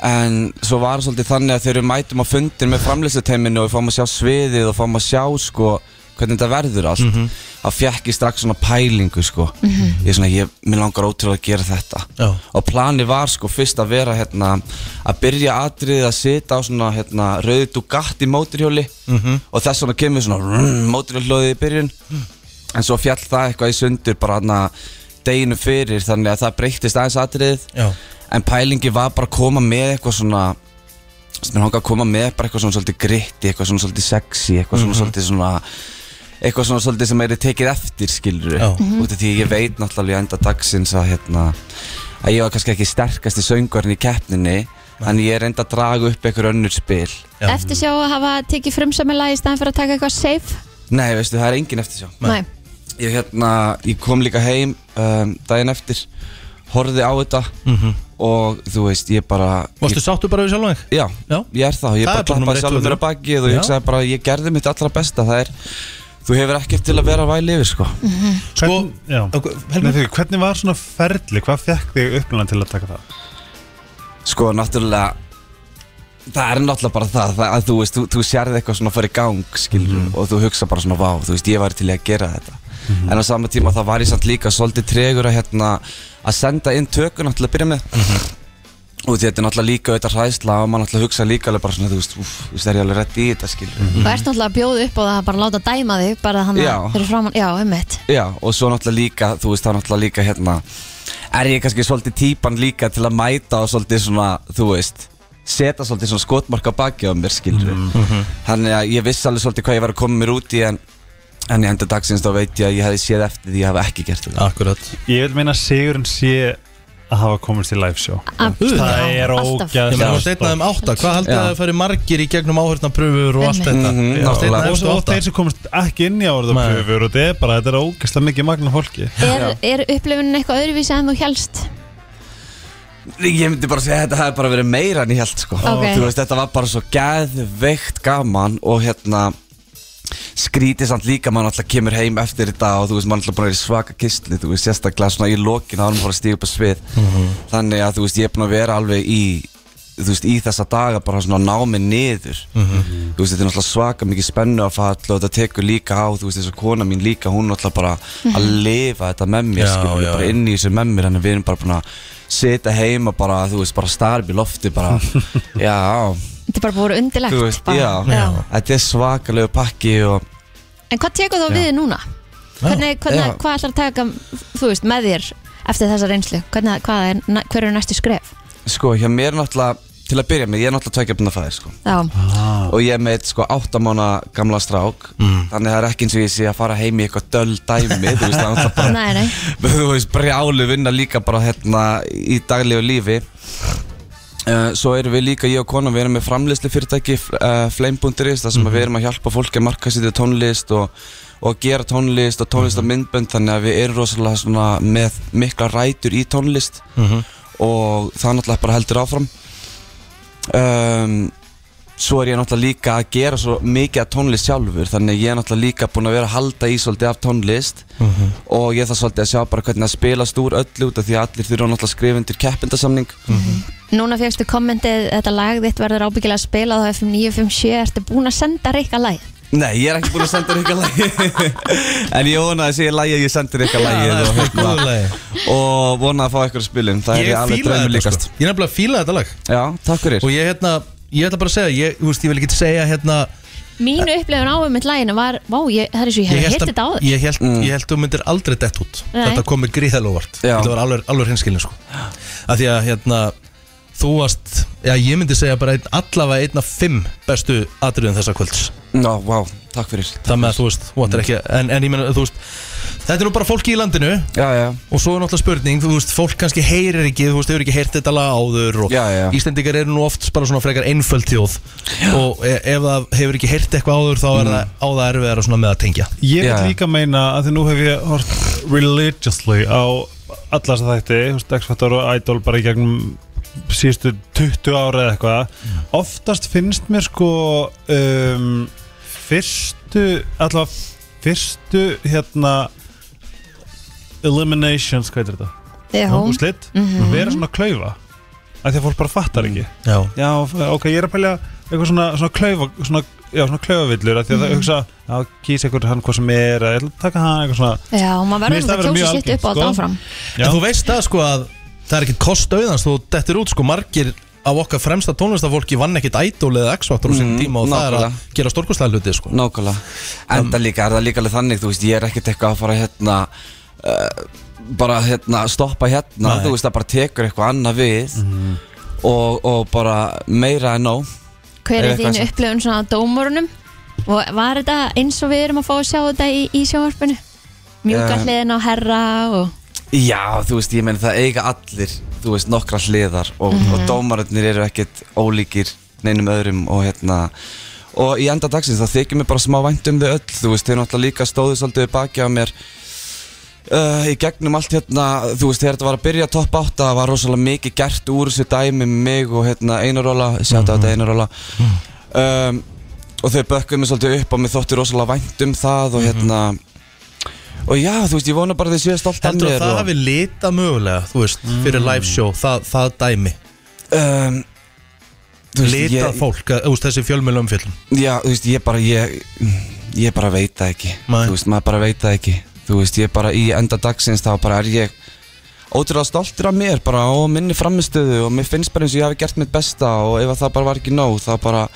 S7: En svo var það svolítið þannig að þegar við mætum á fundin með framlýstuteiminu og við fáum að sjá sviðið og fáum að sjá sko hvernig þetta verður allt
S6: Mhm.
S7: þá fekk ég strax svona pælingu sko ég er svona, ég, mér langar ótrúlega að gera þetta
S6: Já.
S7: og planið var sko fyrst að vera hérna að byrja atriðið að sita á svona hérna rauði Dugatti móturhjóli
S6: Mhm.
S7: og þess vegna kemur svona rrrr, móturhjólið í byrjun
S6: Mm.
S7: en svo fjall það eitthvað í sundur bara hérna deginu fyrir þannig að það breyttist aðeins atriðið
S6: Já.
S7: en pælingi var bara að koma með eitthvað svona sem er hangað að koma með bara eitthvað svona svolítið gritti, eitthvað svona svolítið sexy, eitthvað
S6: Mhm.
S7: svona svolítið svona eitthvað svona svolítið sem er tekið eftir skilur
S6: Já. Mhm.
S7: út af því ég veit náttúrulega í enda dagsins að hérna að ég var kannski ekki sterkasti söngurinn í keppninni en ég er enda að draga upp einhver önnur spil
S6: Já.
S2: Eftir sjá að hafa tekið frumsamlega í staðan fyrir að taka eitthvað safe
S7: Nei, veistu, það er engin eftir sjá
S2: Nei,
S7: ég, hérna, ég kom líka heim um, daginn eftir horfði á þetta og þú veist, ég bara ég,
S6: Mhm. Varstu sáttu bara við sjálf og þig?
S7: Já,
S6: Já.
S7: ég er það og
S6: Það
S7: Ég
S6: er
S7: bara
S6: bara númer
S7: klappaði
S6: eitt og
S7: sjálfur mér
S6: þrjú.
S7: að bakið og
S6: Já.
S7: ég hugsaði bara Ég gerði mitt allra besta Það er, þú hefur ekkert til að vera að væli yfir sko
S6: Sko,
S5: Hvern- já.
S6: ok,
S5: Nei,
S6: Helgi,
S5: fyrir, Hvernig var svona ferli, hvað fekk þig upplæðan til að taka það?
S7: Sko, náttúrulega Það er náttúrulega bara það, það að þú veist, þú, þú sérði eitthvað svona að fara í gang, skilur og þú hugsa bara svona, vá, þú veist, ég væri til í að gera þetta en á sama tíma það var ég samt líka svolítið tregur að hérna að senda inn tökuna til að byrja með og því þetta er náttúrulega líka auðvitað hræðsla og maður náttúrulega hugsa líka alveg bara svona, þú veist, úf, þú veist, er ég alveg rétt í þetta, skilur
S2: þú ert náttúrulega að bjóða upp og það bara láta dæma þig bara þannig
S7: Já.
S2: fyrir framann, já, einmitt
S7: Já, og svo náttúrulega líka, þú veist, þá náttúrulega líka hérna Er ég kannski svolítið típan líka til að mæta og svolítið svona, þú veist Seta svolítið svona skotmarka baki á mér, skilur Þannig að ég vissi alveg svolítið hvað ég var að koma mér út í En, en í enda dagsins þá veit ég að ég hefði séð eftir því að ég hafi ekki gert þetta
S6: Akkurat
S5: Ég vil meina að sigurinn sé að hafa komist í live show Það
S2: Alltaf.
S5: er
S1: Ég meina,
S5: ógæðslega
S1: þú veist einna um átta, hvað haldið
S7: Já.
S1: að það færi margir í gegnum áhörnapröfur og allt þetta?
S7: Mhm,
S1: Þú veist, einn af
S5: Og
S7: nákvæmlega.
S1: þessum
S5: og
S1: um átta.
S5: þeir sem komist ekki inn í áraðarpröfur og þetta er bara, þetta er ógæslega mikið magna fólki
S2: er, er upplifunin eitthvað öðruvísi en þú helst
S7: Ég myndi bara segja að þetta hefði bara verið meira en ég held sko
S2: Ok.
S7: Þú veist, þetta var bara svo geðveikt gaman og hérna skrítið samt líka mann alltaf kemur heim eftir þetta og þú veist, mann alltaf búin að vera í svaka kistli þú veist, sérstaklega svona í lokin árum fór að stíga upp að svið
S1: Mhm.
S7: þannig að þú veist, ég er búin að vera alveg í þú veist, í þessa daga bara svona námi niður
S1: Mhm.
S7: þú veist, þetta er náttúrulega svaka mikið spennu að falla og þetta tekur líka á þú veist, þess að kona mín líka, hún er náttúrulega bara að lifa þetta með mér,
S1: Já,
S7: skilur,
S1: já,
S7: bara
S1: já.
S7: inn í þessu með mér þannig að við erum bara búin að sita heima bara, þú veist, bara starf í lofti bara, já,
S2: Þetta er bara búið undilegt
S7: þú veist,
S2: bara.
S7: já, þetta er svakalegu pakki og
S2: En hvað tekur þá við núna? Hvernig, hvernig,
S7: Já.
S2: Hvað ætlar að taka þú veist, með þér eftir þessa reynslu? Hvernig, hvað er, na- hver eru næstu skref?
S7: sko, hjá mér náttúrulega, til að byrja með, ég er náttúrulega tveikjöfnda fæðir, sko
S5: Ah,
S2: Já,
S7: og ég er með eitt, sko áttamána gamla strák þannig að það er ekki eins og ég sé að fara heim í eitthvað döl dæmi, þú veist, það er náttúrulega bara
S2: nei, nei
S7: þú veist, brjálu vinna líka bara hérna í daglegu lífi uh, svo erum við líka, ég og konan við erum með framleysli fyrirtæki uh, flame.is, þar sem að við erum að hjálpa fólki að markaðsýtja tónlist og, og að gera tónlist og tónlist og myndbönd þannig að við erum rosalega svona með mikla rætur í tónlist og það náttúrulega bara heldur áfram um, svo er ég náttúrulega líka að gera svo mikið af tónlist sjálfur þannig að ég er náttúrulega líka búin að vera að halda í svolítið af tónlist
S1: Mhm.
S7: og ég þarf svolítið að sjá bara hvernig það spilast úr öllu út af því að allir þurfa náttúrulega að skrifa undir keppindasamning
S1: Mm.
S2: Núna fegstu kommentið, þetta lag þitt verður ábyggilega að spila á FM 957 Ertu búin að senda Rikka lag?
S7: Nei, ég er ekki búin að senda ykkur lagi en ég vona að segja lagi að ég sendir ykkur lagi
S1: Já, það er
S7: og, hérna,
S1: sko góðu lagi.
S7: og vona að fá ykkur spilin það er
S1: Ég
S7: ég alveg
S1: fíla
S7: draumi
S1: þetta
S7: líkast
S1: sko. Ég er nefnilega að fíla þetta lag
S7: Já, takk fyrir
S1: Og ég hérna, ég ætla bara að segja, ég, þú veist, ég vil ekki segja hérna
S2: Mínu upplifun á um mitt laginu var Vá, ég, það er eins og ég hef hitt
S1: að-
S2: þetta á þér
S1: ég held, ég held þú myndir aldrei dett út
S2: Nei.
S1: Þetta kom mér gríðalóvart
S7: Mm. Já.
S1: Þetta var alveg, alveg hinskilin sko Af því að hérna Þú varst, já ég myndi segja bara einn, allavega einn af fimm bestu atriðum þessa kvölds
S7: Ná, vá, takk fyrir
S1: Það með að þú veist, þú ættir ekki en, en ég meina, þú veist, þetta er nú bara fólki í landinu
S7: Já, já,
S1: Og svo er náttúrulega spurning, þú veist, fólk kannski heyrir ekki, þú veist, hefur ekki heyrt þetta lag áður og
S7: Já, já.
S1: Íslendingar eru nú oft bara svona frekar einföld þjóð og e ef það hefur ekki heyrt eitthvað áður þá
S7: Mm.
S1: er það á það erfiðara svona með að tengja.
S5: Ég vil
S7: Já.
S5: líka meina að því nú hef ég hort religiously á alla þessa þætti, þú veist, X-Factor og Idol bara í gegnum síðustu 20 ára eða eitthvað oftast finnst mér sko um, fyrstu allavega fyrstu hérna eliminations, hvað er þetta?
S2: Já,
S5: Úslit, vera svona klaufa að því að fólk bara fattar ekki
S1: Já.
S5: Já, ok, ég er að pælja eitthvað svona, svona klaufa svona, já, svona klaufavillur af því að
S2: Mhm.
S5: það hugsa, já, kýs eitthvað hann hvað sem er, eða ég ætla að taka hann eitthvað svona
S2: já maður
S5: Mér
S2: verður
S5: finnst það
S2: að
S5: vera
S2: kjósa
S5: mjög
S2: sitt upp á
S5: algengt,
S2: þetta
S5: sko.
S2: áfram
S5: Já.
S1: En þú veist það sko að það er ekkit kost auðans, þú dettir út sko margir af okkar fremsta tónlistafólki vann ekkit idol eða x-faktor á sínum
S7: Mhm,
S1: tíma og það er að
S7: nákvæmlega.
S1: gera stórkostlega hluti sko.
S7: nákvæmlega Enda líka, er það líka alveg þannig, þú veist, ég er ekkert eitthvað að fara hérna uh, bara hérna, stoppa hérna
S1: Nei.
S7: þú veist, það bara tekur eitthvað annað við og, og bara meira en nóg
S2: Hver
S7: Ef
S2: er
S7: eitthvað
S2: þín
S7: sem-
S2: upplifun svona á dómorunum? Og var þetta eins og við erum að fá að sjá þetta í, í sjónvarpinu? Mjúka
S7: Eh.
S2: hliðin á herra og
S7: Já, þú veist, ég meina það eiga allir þú veist, nokkra hliðar og, og dómararnir eru ekkert ólíkir neinum öðrum og hérna og í enda dagsins það þykir mér bara smá vænt um þau öll, þú veist, þau náttúrulega líka stóðu svolítið við baki á mér uh, í gegnum allt hérna, þú veist, þegar þetta var að byrja topp 8, það var rosalega mikið gert úr þessu dæmi með mig og hérna einaróla, sjáta
S1: Mhm.
S7: þetta einaróla um, og þau bökkuðu mér svolítið upp og mér þótti rosalega vænt um það
S1: Mhm.
S7: og hérna og já, þú veist, ég vona bara að þau séu stolt af
S1: Heldur
S7: mér
S1: að það
S7: og-
S1: hafi lita mögulega, þú veist,
S7: Mm.
S1: fyrir live show, það, það dæmi,
S7: um, þú veist,
S1: litað
S7: ég-
S1: fólk, að- þú veist, þessi fjölmjölu umfjöllum.
S7: Já, þú veist, ég bara ég, ég bara veit það ekki
S1: Nei.
S7: Þú veist, maður bara veit það ekki Þú veist, ég bara í enda dagsins þá bara er ég ótrúlega stoltur af mér bara og minni framistöðu og mér finnst bara eins og ég hafi gert mitt besta og ef að það bara var ekki nóg þá bara,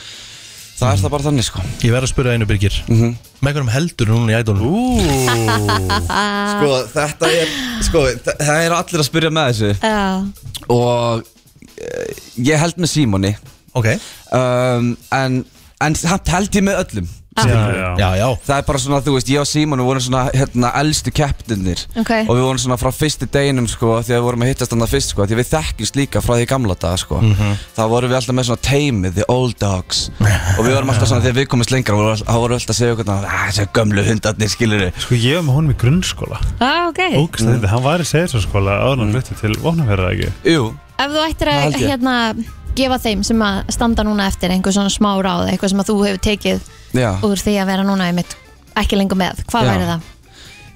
S7: það er það bara þannig sko
S1: Ég verð að spyrja einu byrgir,
S7: Mhm.
S1: með hverjum heldur núna í idolum?
S7: Sko, þetta er, sko, þa- það eru allir að spyrja með þessu
S2: Já,
S7: og eh, ég held með Símoni
S1: Ok,
S7: um, en, en samt held ég með öllum
S2: Ah.
S5: já, já.
S1: Já, já
S7: Það er bara svona, þú veist, ég og Símon við vorum svona, hérna, elstu keppnirnir
S2: Ok.
S7: og við vorum svona frá fyrstu deginum, sko því að við vorum að hittast annað fyrst, sko því við þekkist líka frá því gamla daga, sko þá vorum við alltaf með svona teimið, the old dogs og við vorum alltaf svona, þegar við komumst lengra þá vorum við- þá vorum við alltaf að segja okkur, að þessi gömlu hundarnir skilur við
S5: Sko ég var með honum í grunnskóla
S2: ah, okay.
S5: Ógst þetta, hann var í segjarsskóla áður en hluti til vopnaferða ekki
S7: Jú,
S2: Ef þú ættir
S7: Það
S2: að
S7: held ég.
S2: hérna, gefa þeim sem að standa núna eftir einhver svona smá ráð, eitthvað sem að þú hefur tekið
S7: já
S2: úr því að vera núna einmitt ekki lengur með, hvað
S7: Já.
S2: væri það?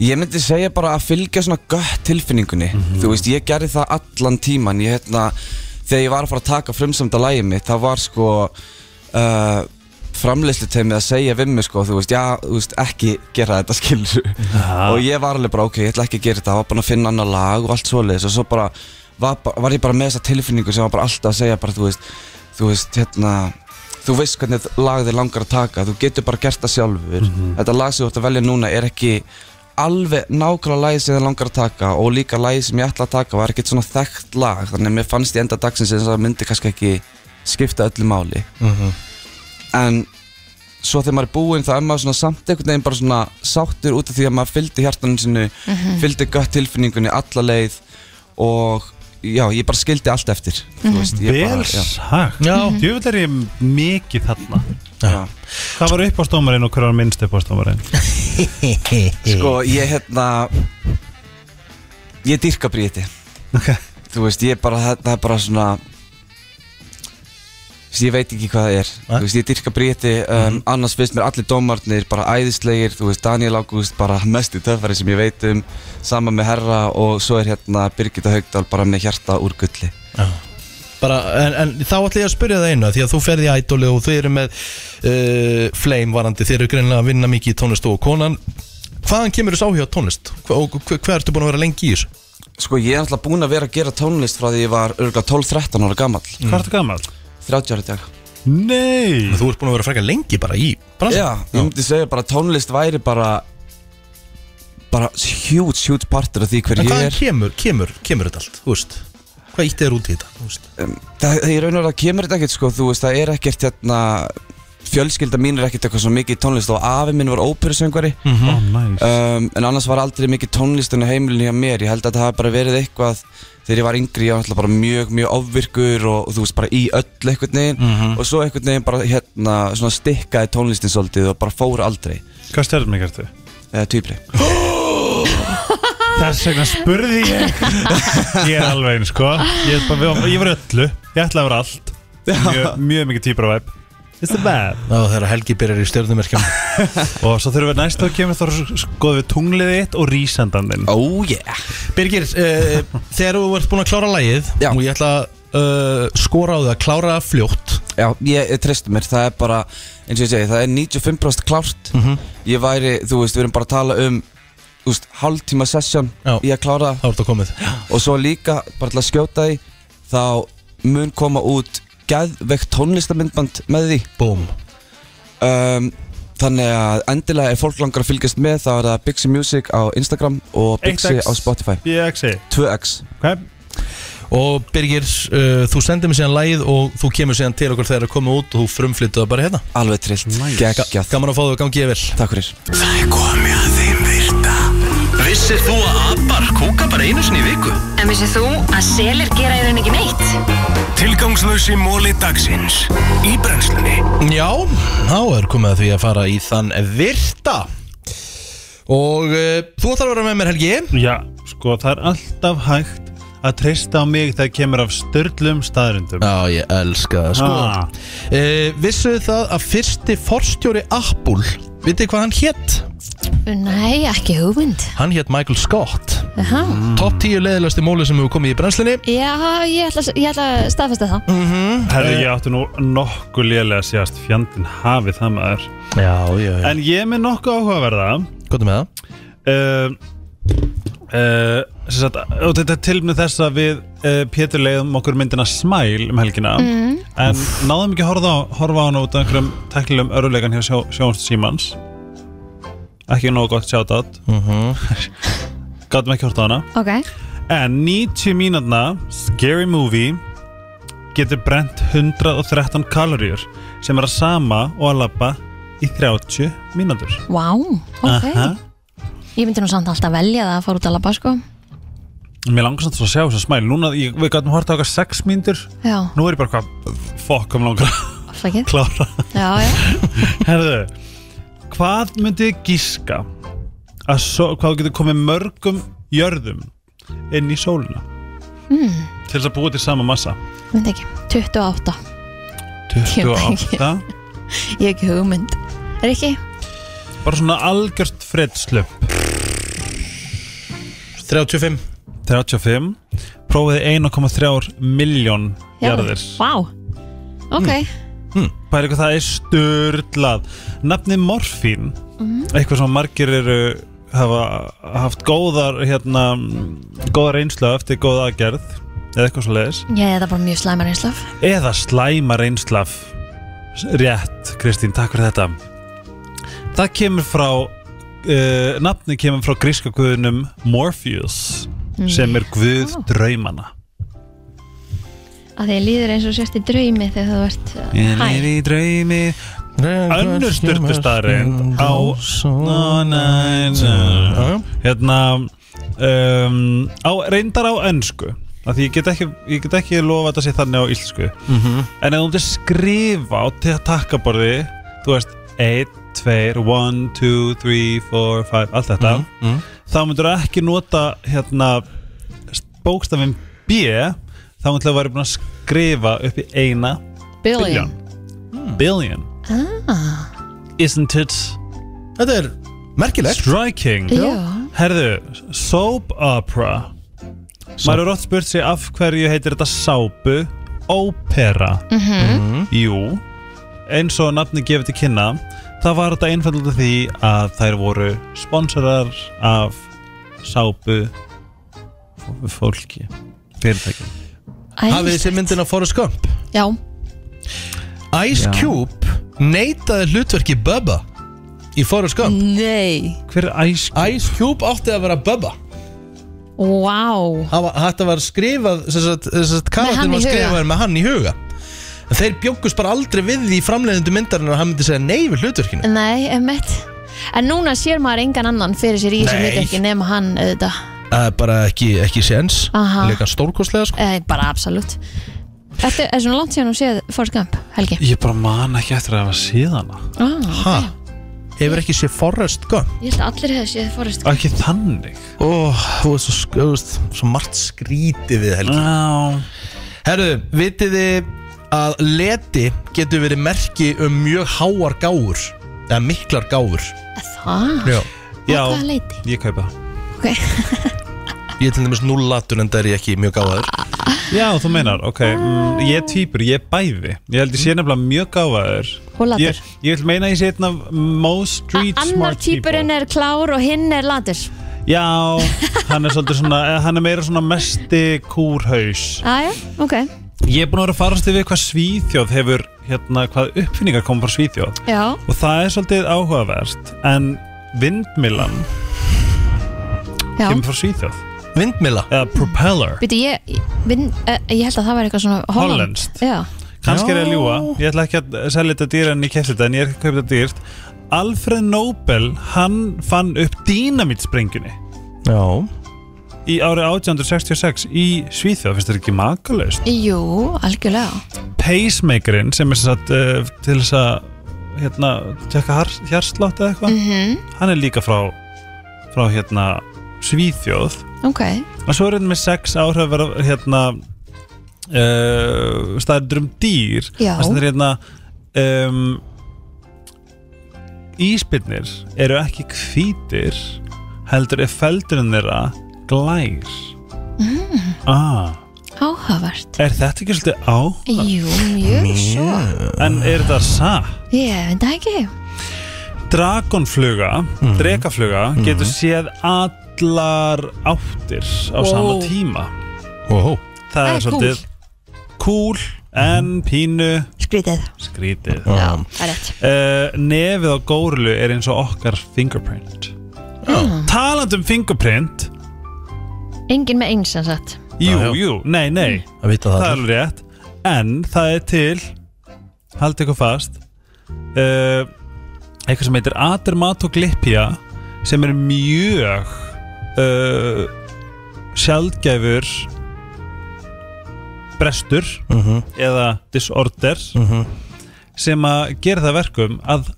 S7: Ég myndi segja bara að fylgja svona gött tilfinningunni Þú veist, ég gerði það allan tíman Ég hérna, þegar ég var að fara að taka frumsamda lægið mitt Það var sko uh, framleyslu að segja við mig sko Þú veist, já, þú veist, ekki gera þetta skilur Og ég var alveg bara, ok, ég ætla ekki að gera þetta Var bara að finna annar lag og allt svoleiðis Og svo bara, var, ba- var ég bara með þessa tilfinningu Sem var bara alltaf að segja bara, þú veist Þú veist, hérna Þú veist hvernig lag þið langar að taka Þú getur bara gert það sjálfur Þetta lag sem þú ert að velja núna er ekki alveg nákvæmlega lagi sem ég langar að taka og líka lagi sem ég ætla að taka var ekkert svona þekkt lag þannig að mér fannst í enda dagsins eins og það myndi kannski ekki skipta öllu máli en svo þegar maður er búinn þá er maður svona samt einhvern veginn bara svona sáttur út af því að maður fylgdi hjartanum sinu fylgdi gött tilfinningunni alla leið og já, ég bara skildi allt eftir mm veist, ég
S5: Vel
S7: já.
S5: sagt Mhm.
S1: Já.
S5: Djöfull er ég mikið þarna
S7: Já. Mm.
S5: Hvað var uppástómarinn og hver var minnst uppástómarinn?
S7: Sko, ég hérna Ég dyrka bríti
S5: Ok.
S7: Þú veist, ég bara, það, það er bara svona þú veist, Ég veit ekki hvað það er Þú veist, ég dyrka bríti um, Annars finnst mér allir dómarnir bara æðislegir Þú veist, Daniel Ágúst bara mesti töffari sem ég veit um Sama með Herra og svo er hérna Birgitta Haugdal bara með hjarta úr gulli
S1: Bara, en, en þá ætla ég að spyrja það einu Því að þú ferði í ædoli og þau eru með uh, Flame varandi, þeir eru greinlega að vinna mikið í tónlist og konan Hvaðan kemur þessu áhuga á tónlist? Hva- Og hver, hver ertu búin að vera lengi í þessu?
S7: Sko, ég er alltaf búinn að vera að gera tónlist frá því ég var örgulega 12-13 ára gamall
S5: Hvað ertu gammal?
S7: 30 ára í dag
S5: Nei
S1: Þú ert búin að vera frekar lengi bara í bransan
S7: Já, ég myndi segja bara að tónlist væri bara bara huge, huge partur af því hver
S1: En
S7: ég
S1: hvaðan
S7: er
S1: kemur, kemur, kemur þetta allt? Þú veist, hvað ítti þér út í þetta? Þú veist
S7: um, það, það er raun og vera að kemur þetta ekkert sko, þú veist, það er ekkert hérna fjölskylda mín er ekkert eitthvað svo mikið í tónlist og afi minn var óperusöngvari
S5: Ó, næs
S7: um, en annars var aldrei mikið tónlistin á heimilinu hjá mér, ég held að það hafi bara verið eitthvað þegar ég var yngri, ég var alltaf bara mjög, mjög ofvirkur og, og þú veist bara í öll einhvern veginn og svo einhvern veginn bara hérna svona stikkaði tónlistin svolítið og bara fór aldrei,
S5: Hvað stjörnum ég gertu?
S7: eða týpli
S5: Þess vegna spurði ég Ég er alveg eins, sko Ég, er bara, ég var í öllu, ég ætla að vera allt Mjög, mjög mikið týpur á væp It's the bad
S1: Ná, þegar Helgi byrjar í stjörnumerkjum
S5: Og svo þurfum við næst að kemur þá skoðum við tunglið þitt og rísandan þinn
S7: Oh yeah!
S1: Birgir, uh, þegar þú ert búin að klára lægið
S7: Já.
S1: og ég ætla að uh, skora á þig að klára það fljótt
S7: Já, ég, ég treysti mér, það er bara eins og ég segi, það er 95% klárt ég væri, þú veist, við erum bara að tala um þú veist, hálftíma session
S1: Já.
S7: í að klára það
S1: þá ert það komið
S7: og svo líka, bara til að skjóta því þá mun koma út geðveikt tónlistamindband með því
S1: Búm
S7: um, þannig að endilega ef fólk langar að fylgjast með þá er það Bixi Music á Instagram og Bixi
S5: 1x.
S7: á Spotify
S5: BXi
S7: 2x
S5: okay.
S1: Og Birgir, uh, þú sendir mér síðan lægið og þú kemur síðan til okkur þegar það er komið út og þú frumflyttu það bara hérna
S7: alveg trillt, nice.
S1: Ga
S7: geggjað
S1: Gaman að fá þau að gangi ég vel
S7: Takk fyrir
S8: Það er komið að þeim virta Vissir þú að abar kúka bara einu sinni í viku?
S4: En vissið þú að selir gera í raun ekki neitt?
S8: Tilgangslösi móli dagsins Í brennslunni
S1: Já, þá er komið að því að fara í þann virta Og uh, þú ætlar að vera með mér Helgi
S5: Já, sko, það er alltaf hægt að treysta á mig þegar kemur af störlum staðrindum
S1: Já, ég elska það sko ah.
S5: Ah.
S1: Vissuðu það að fyrsti forstjóri Apple Vitið hvað hann hétt?
S2: Nei, ekki hugmynd
S1: Hann hétt Michael Scott
S2: Aha.
S7: Mm.
S1: Top 10 leðilegasti móli sem hefur komið í brennslinni
S2: Já, ég ætla, að- ég ætla að staðfesta
S7: Mm.
S2: það
S5: Herðu, ég átti nú nokkuð lélega síðast fjandinn hafi það maður
S1: Já, já, já
S5: En ég er með nokkuð áhugaverða
S1: Góðum með það
S5: uh, uh, sem sagt, og Þetta er til með þess að við uh, Pétur leiðum okkur myndina Smile um helgina En náðum ekki að horfa á, horfa á hana út af einhverjum teklilegum öruleikan hjá sjó, sjónst Simans Ekki nógu gott shoutout mm -hmm. Gátum ekki að horfa á hana
S2: Ok,
S5: En 90 mínútna Scary Movie getur brent 113 kaloríur sem er að sama og að labba í 30 mínútur
S2: Vá, ok
S5: Aha.
S2: Ég myndi nú samt alltaf velja það að fara út að labba sko
S5: Mér langar samt svo að sjá þess að smæl Núna, ég, við gætum hort á okkar 6 mínútur
S2: Já,
S5: Nú er ég bara hvað Fokk, um langar að
S2: afsakið
S5: klára
S2: Já, já,
S5: Herðu, hvað myndið þið gíska að so, hvað þú getur komið mörgum jörðum inn í sólina mm.
S2: Hmm.
S5: til þess að búa til sama massa
S2: myndi ekki 28, Ég veit
S5: 28
S2: ég hef ekki hugmynd Er ekki?
S5: bara svona algjört fredslöp
S6: 35
S5: 35 prófiði 1,3 miljón
S2: Já,
S5: jarðir
S2: Vá, ok
S5: Pæli hvað það er störlað Nafni morfín Eitthvað sem margir eru hafa haft góðar hérna, góðar einslu eftir góða aðgerð eða eitthvað svo leiðis
S2: Ég hef það bara mjög slæmar einslaf
S5: eða slæma reynslaf rétt, Kristín, takk fyrir þetta það kemur frá uh, nafni kemur frá gríska guðunum Morpheus sem er guð
S2: Ó.
S5: draumana
S2: að því líður eins og sérst í draumi þegar þú ert uh,
S5: ég er
S2: hæ,
S5: í draumi önnur styrtustarind á Ná, næ, næ. hérna um, á, reyndar á ennsku af því ég get ekki, ég get ekki lofa að þetta sé þannig á íslensku en ef þú myndir skrifa á til að takkaborði þú veist 1, 2, 1, 2, 3, 4, 5 allt þetta þá myndir þú ekki nota hérna bókstafin B þá myndir þú að vera búin að skrifa upp í eina
S2: billion
S5: billion Hmm.
S2: ah,
S5: isn't it
S6: Þetta er merkilegt
S5: striking
S2: já,
S5: herðu, soap opera maður er oft spurt sig af hverju heitir þetta sápu ópera Mhm. jú eins og nafni gefið til kynna það var þetta einfallega því að þær voru sponsorar af sápu f- fólki fyrirtæki
S6: Hafið
S2: æðist
S6: þessi myndin af Forrest Gump
S2: já,
S6: Ice
S7: Já.
S6: Cube neitaði hlutverki Bubba í Forrest Gump
S2: nei
S5: hver er æsk
S2: Mm.
S6: Ice Cube átti að vera Bubba
S2: wow,
S6: Það var- Þetta var skrifað sem sagt- sem sagt, karakterinn
S2: hann í
S6: var
S2: huga.
S6: skrifaður með hann í huga En Þeir bjókust bara aldrei við því framleiðindu myndarinn að hann myndi segja nei við hlutverkinu
S2: nei, emmett en núna sér maður engan annan fyrir sér í sem
S6: Nei.
S2: við ekki nema hann auðvitað,
S6: Það er bara ekki, ekki séns
S2: Aha.
S6: Leika stórkostlega sko
S2: eh, bara absolutt Þetta er svona langt síðan hún séð Forrest Gump, Helgi
S5: ég bara man ekki eftir að hafa síðana
S2: ah,
S6: Ha? Hefur ekki séð Forrest Gump?
S2: ég held að allir hefði séð Forrest Gump
S5: ekki þannig
S6: Ó, þú veist svo, sk- þú veist, svo margt skrítið við helgi
S5: já Mm.
S6: Herru, vitið þið að leti getur verið merki um mjög háar gáfur eða miklar gáfur
S2: það,
S6: Já.
S2: á
S5: já
S2: hvaða leiti
S5: ég kaupa það.
S2: ok,
S6: Ég er til dæmis nullatur en það er ég ekki mjög gáfaður
S5: Já, þú meinar, ok
S2: Ah.
S5: mm, Ég er týpur, ég er bæði Ég held ég sé nefnilega mjög gáfaður
S2: Og latur.
S5: Ég, ég vil meina að ég sé einn af most street
S2: A- annar
S5: smart people
S2: týpurinn er klár og hinn er latur
S5: Já, hann er svolítið svona eh, Hann er meira svona mesti kúrhaus
S2: aðja, ok,
S5: Ég er búin að vera að farast yfir hvað Svíþjóð hefur hérna, hvað uppfinningar koma frá Svíþjóð
S2: já
S5: og það er svolítið áhugavert en vindmilan
S2: já,
S5: kemur frá Svíþjóð
S6: Vindmila
S5: eða propeller
S2: Býtu, ég, vin, uh, ég held að það var eitthvað svona
S5: Hollenskt.
S2: Já,
S5: kannski er ég að ljúa, ég ætla ekki að selja þetta dýr en ég kefti þetta en ég er ekki að kaupa þetta dýrt Alfred Nobel, hann fann upp dýnamítsprengjunni
S6: Já
S5: í árið 1866 í Svíþjóð, finnst þetta ekki makalaust
S2: jú, algjörlega
S5: pacemakerinn sem er satt, uh, til þess að hérna, tjekka har- hjartslátt eða eitthvað hann er líka frá, frá hérna, Svíþjóð
S2: Ok,
S5: og svo er þetta með sex áhrif að vera hérna uh, staðir um dýr
S2: Já.
S5: það stendur hérna um, íspinnir eru ekki hvítir heldur er feldurinn þeirra glær mm. ah,
S2: áhugavert
S5: er þetta ekki svolítið á
S2: Jú, mjög svo
S5: en er þetta satt
S2: Ég veit það ekki
S5: Dragonfluga, drekafluga getur séð allar áttir á sama tíma
S6: Óhó
S5: Það
S2: Það
S5: er
S2: er
S5: svolítið cool
S6: Mm.
S5: en pínu
S2: Skrítið
S5: skrítið
S2: Já, það er rétt
S5: uh, Nefið á górlu er eins og okkar fingerprint oh. Talandi um fingerprint
S2: Engin með eins, sem sagt
S5: Jú,
S6: já.
S5: jú, nei, nei
S6: Að vita það
S5: Það er alveg rétt En það er til Haldið ykkur fast uh, eitthvað sem heitir Adermatoglypia sem er mjög uh, sjaldgæfur brestur Mhm. eða disorder sem að gera það að verkum að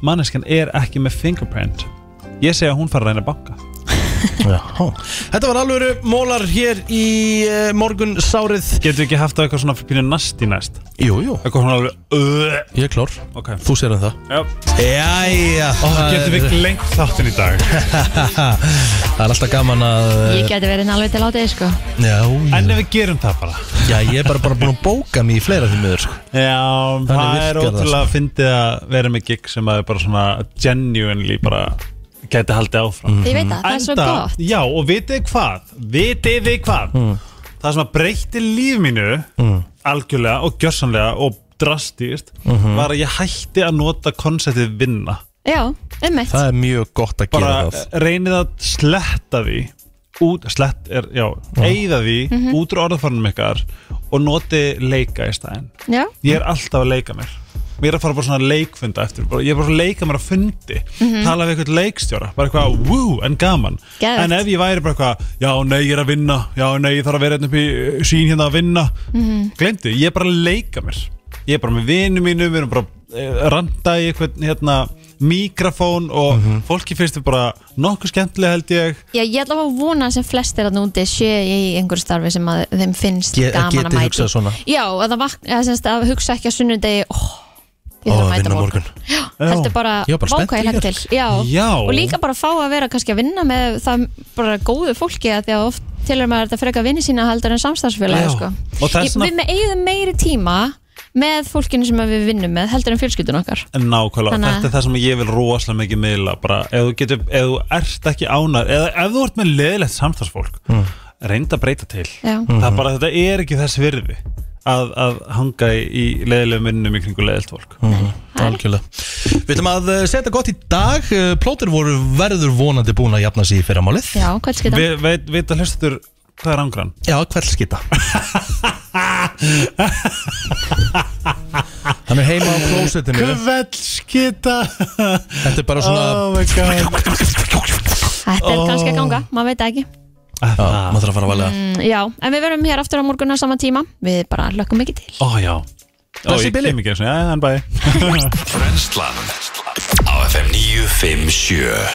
S5: manneskjan er ekki með fingerprint ég segi að hún fara að reyna að banka
S6: Þetta var alvöru mólar hér í uh, morgun sárið
S5: getur við ekki haft það eitthvað svona fyrir pínu nast í næst
S6: Jú, jú,
S5: eitthvað svona alveg uh,
S6: ég er klár
S5: ok
S6: Þú sér um það
S5: Já.
S6: Jæja
S5: Ó, getur við glengt þáttin í dag
S6: Það er alltaf gaman að eh,
S2: Ég geti verið alveg til átið sko
S6: Já,
S5: en
S6: já,
S5: ef við gerum það bara
S6: já, ég er bara, bara búin að bóka mig í fleira því miður sko.
S5: Já, það
S6: virkar
S5: er
S6: það,
S5: ótrúlega að fyndið að vera með gig sem að er bara svona genuinely bara gæti haldið áfram
S2: Ég veit það, það er svo
S5: Enda-
S2: gott
S5: Já, og vitið þið hvað, vitið þið hvað Það sem að breytti líf mínu algjörlega og gjörsanlega og drastíst var að ég hætti að nota konceptið vinna
S2: Já, einmitt
S6: Það er mjög gott að gera
S5: bara eh,
S6: það
S5: reynið að sletta því út, slett er, já, eigða því út úr orðafornum ykkar og noti leika í staðinn
S2: Já,
S5: ég er alltaf að leika mér mér er að fara bara svona að leikfunda eftir bara, ég er bara að leika mér að fundi tala við eitthvað leikstjóra, bara eitthvað wú, en gaman
S2: Geðvegt.
S5: en ef ég væri bara eitthvað já, nei, ég er að vinna, já, nei, ég þarf að vera hérna upp í uh, sín hérna að vinna mm glemdi, ég er bara að leika mér ég er bara með vinum mínum, við erum bara eh, randa í eitthvað hérna mikrofón og fólki finnst þið bara nokkuð skemmtilega held ég
S2: Já, ég ætla að vona að sem flestir að núti sé í einhverju starfi sem að þeim finnst
S6: Ge-
S2: gaman
S6: geti
S2: að mæti
S6: hugsað svona.
S2: Já, að það vakna, að, semst, að hugsa ekki að sunnundegi oh, Ég
S6: Ó,
S2: þarf að
S6: að
S2: mæta
S6: vinna á
S2: morgun,
S6: morgun.
S2: Já, heldur bara,
S6: Ég var bara
S2: vá,
S6: spennt
S2: hvað ég
S6: í
S2: legg
S6: gær.
S2: til Já.
S5: Já.
S2: og líka bara fá að vera kannski að vinna með það bara góðu fólki að því að oft tilur maður þetta frekar vinni sína heldur en samstarfsfélagi
S5: Já.
S2: sko.
S5: Og það er
S2: Ég-
S5: svona-
S2: Við með eigum meiri tíma með fólkinu sem að við vinnum með heldur en fjölskyldun okkar
S5: En nákvæmlega,
S2: Þannig að-
S5: þetta er það sem ég vil rosalega mikið miðla bara, ef þú getur, ef þú ert ekki ánar eða ef þú ert með leðilegt samtalsfólk mm. reynda að breyta til
S2: Já.
S5: það er bara, þetta er ekki þess virði að, að hanga í, í leðilegum minnum í kringu leðilt fólk
S2: Mm.
S6: Algjörlega Við ætlum að eh, setja gott í dag Eh, Plóter voru verður vonandi búin að jafna sig í fyrramálið
S2: Já, hvað skita?
S5: Við veit, veit að hlustatur hvað er ángrann?
S6: Já, kveldskita Hann er heima á klósetinu
S5: Kveldskita
S6: Þetta er bara svona
S5: Oh my god
S2: Þetta er kannski að ganga, maður veit það ekki
S6: Já, maður þarf að fara að valega
S2: Mm, Já, en við verum hér aftur á morgun á sama tíma Við bara lökum ekki til
S5: Ó já Ó,
S6: Bless you,
S5: ég
S6: Billy.
S5: kem ekki eins og, já, hann bæði
S8: Brennslan á FM 957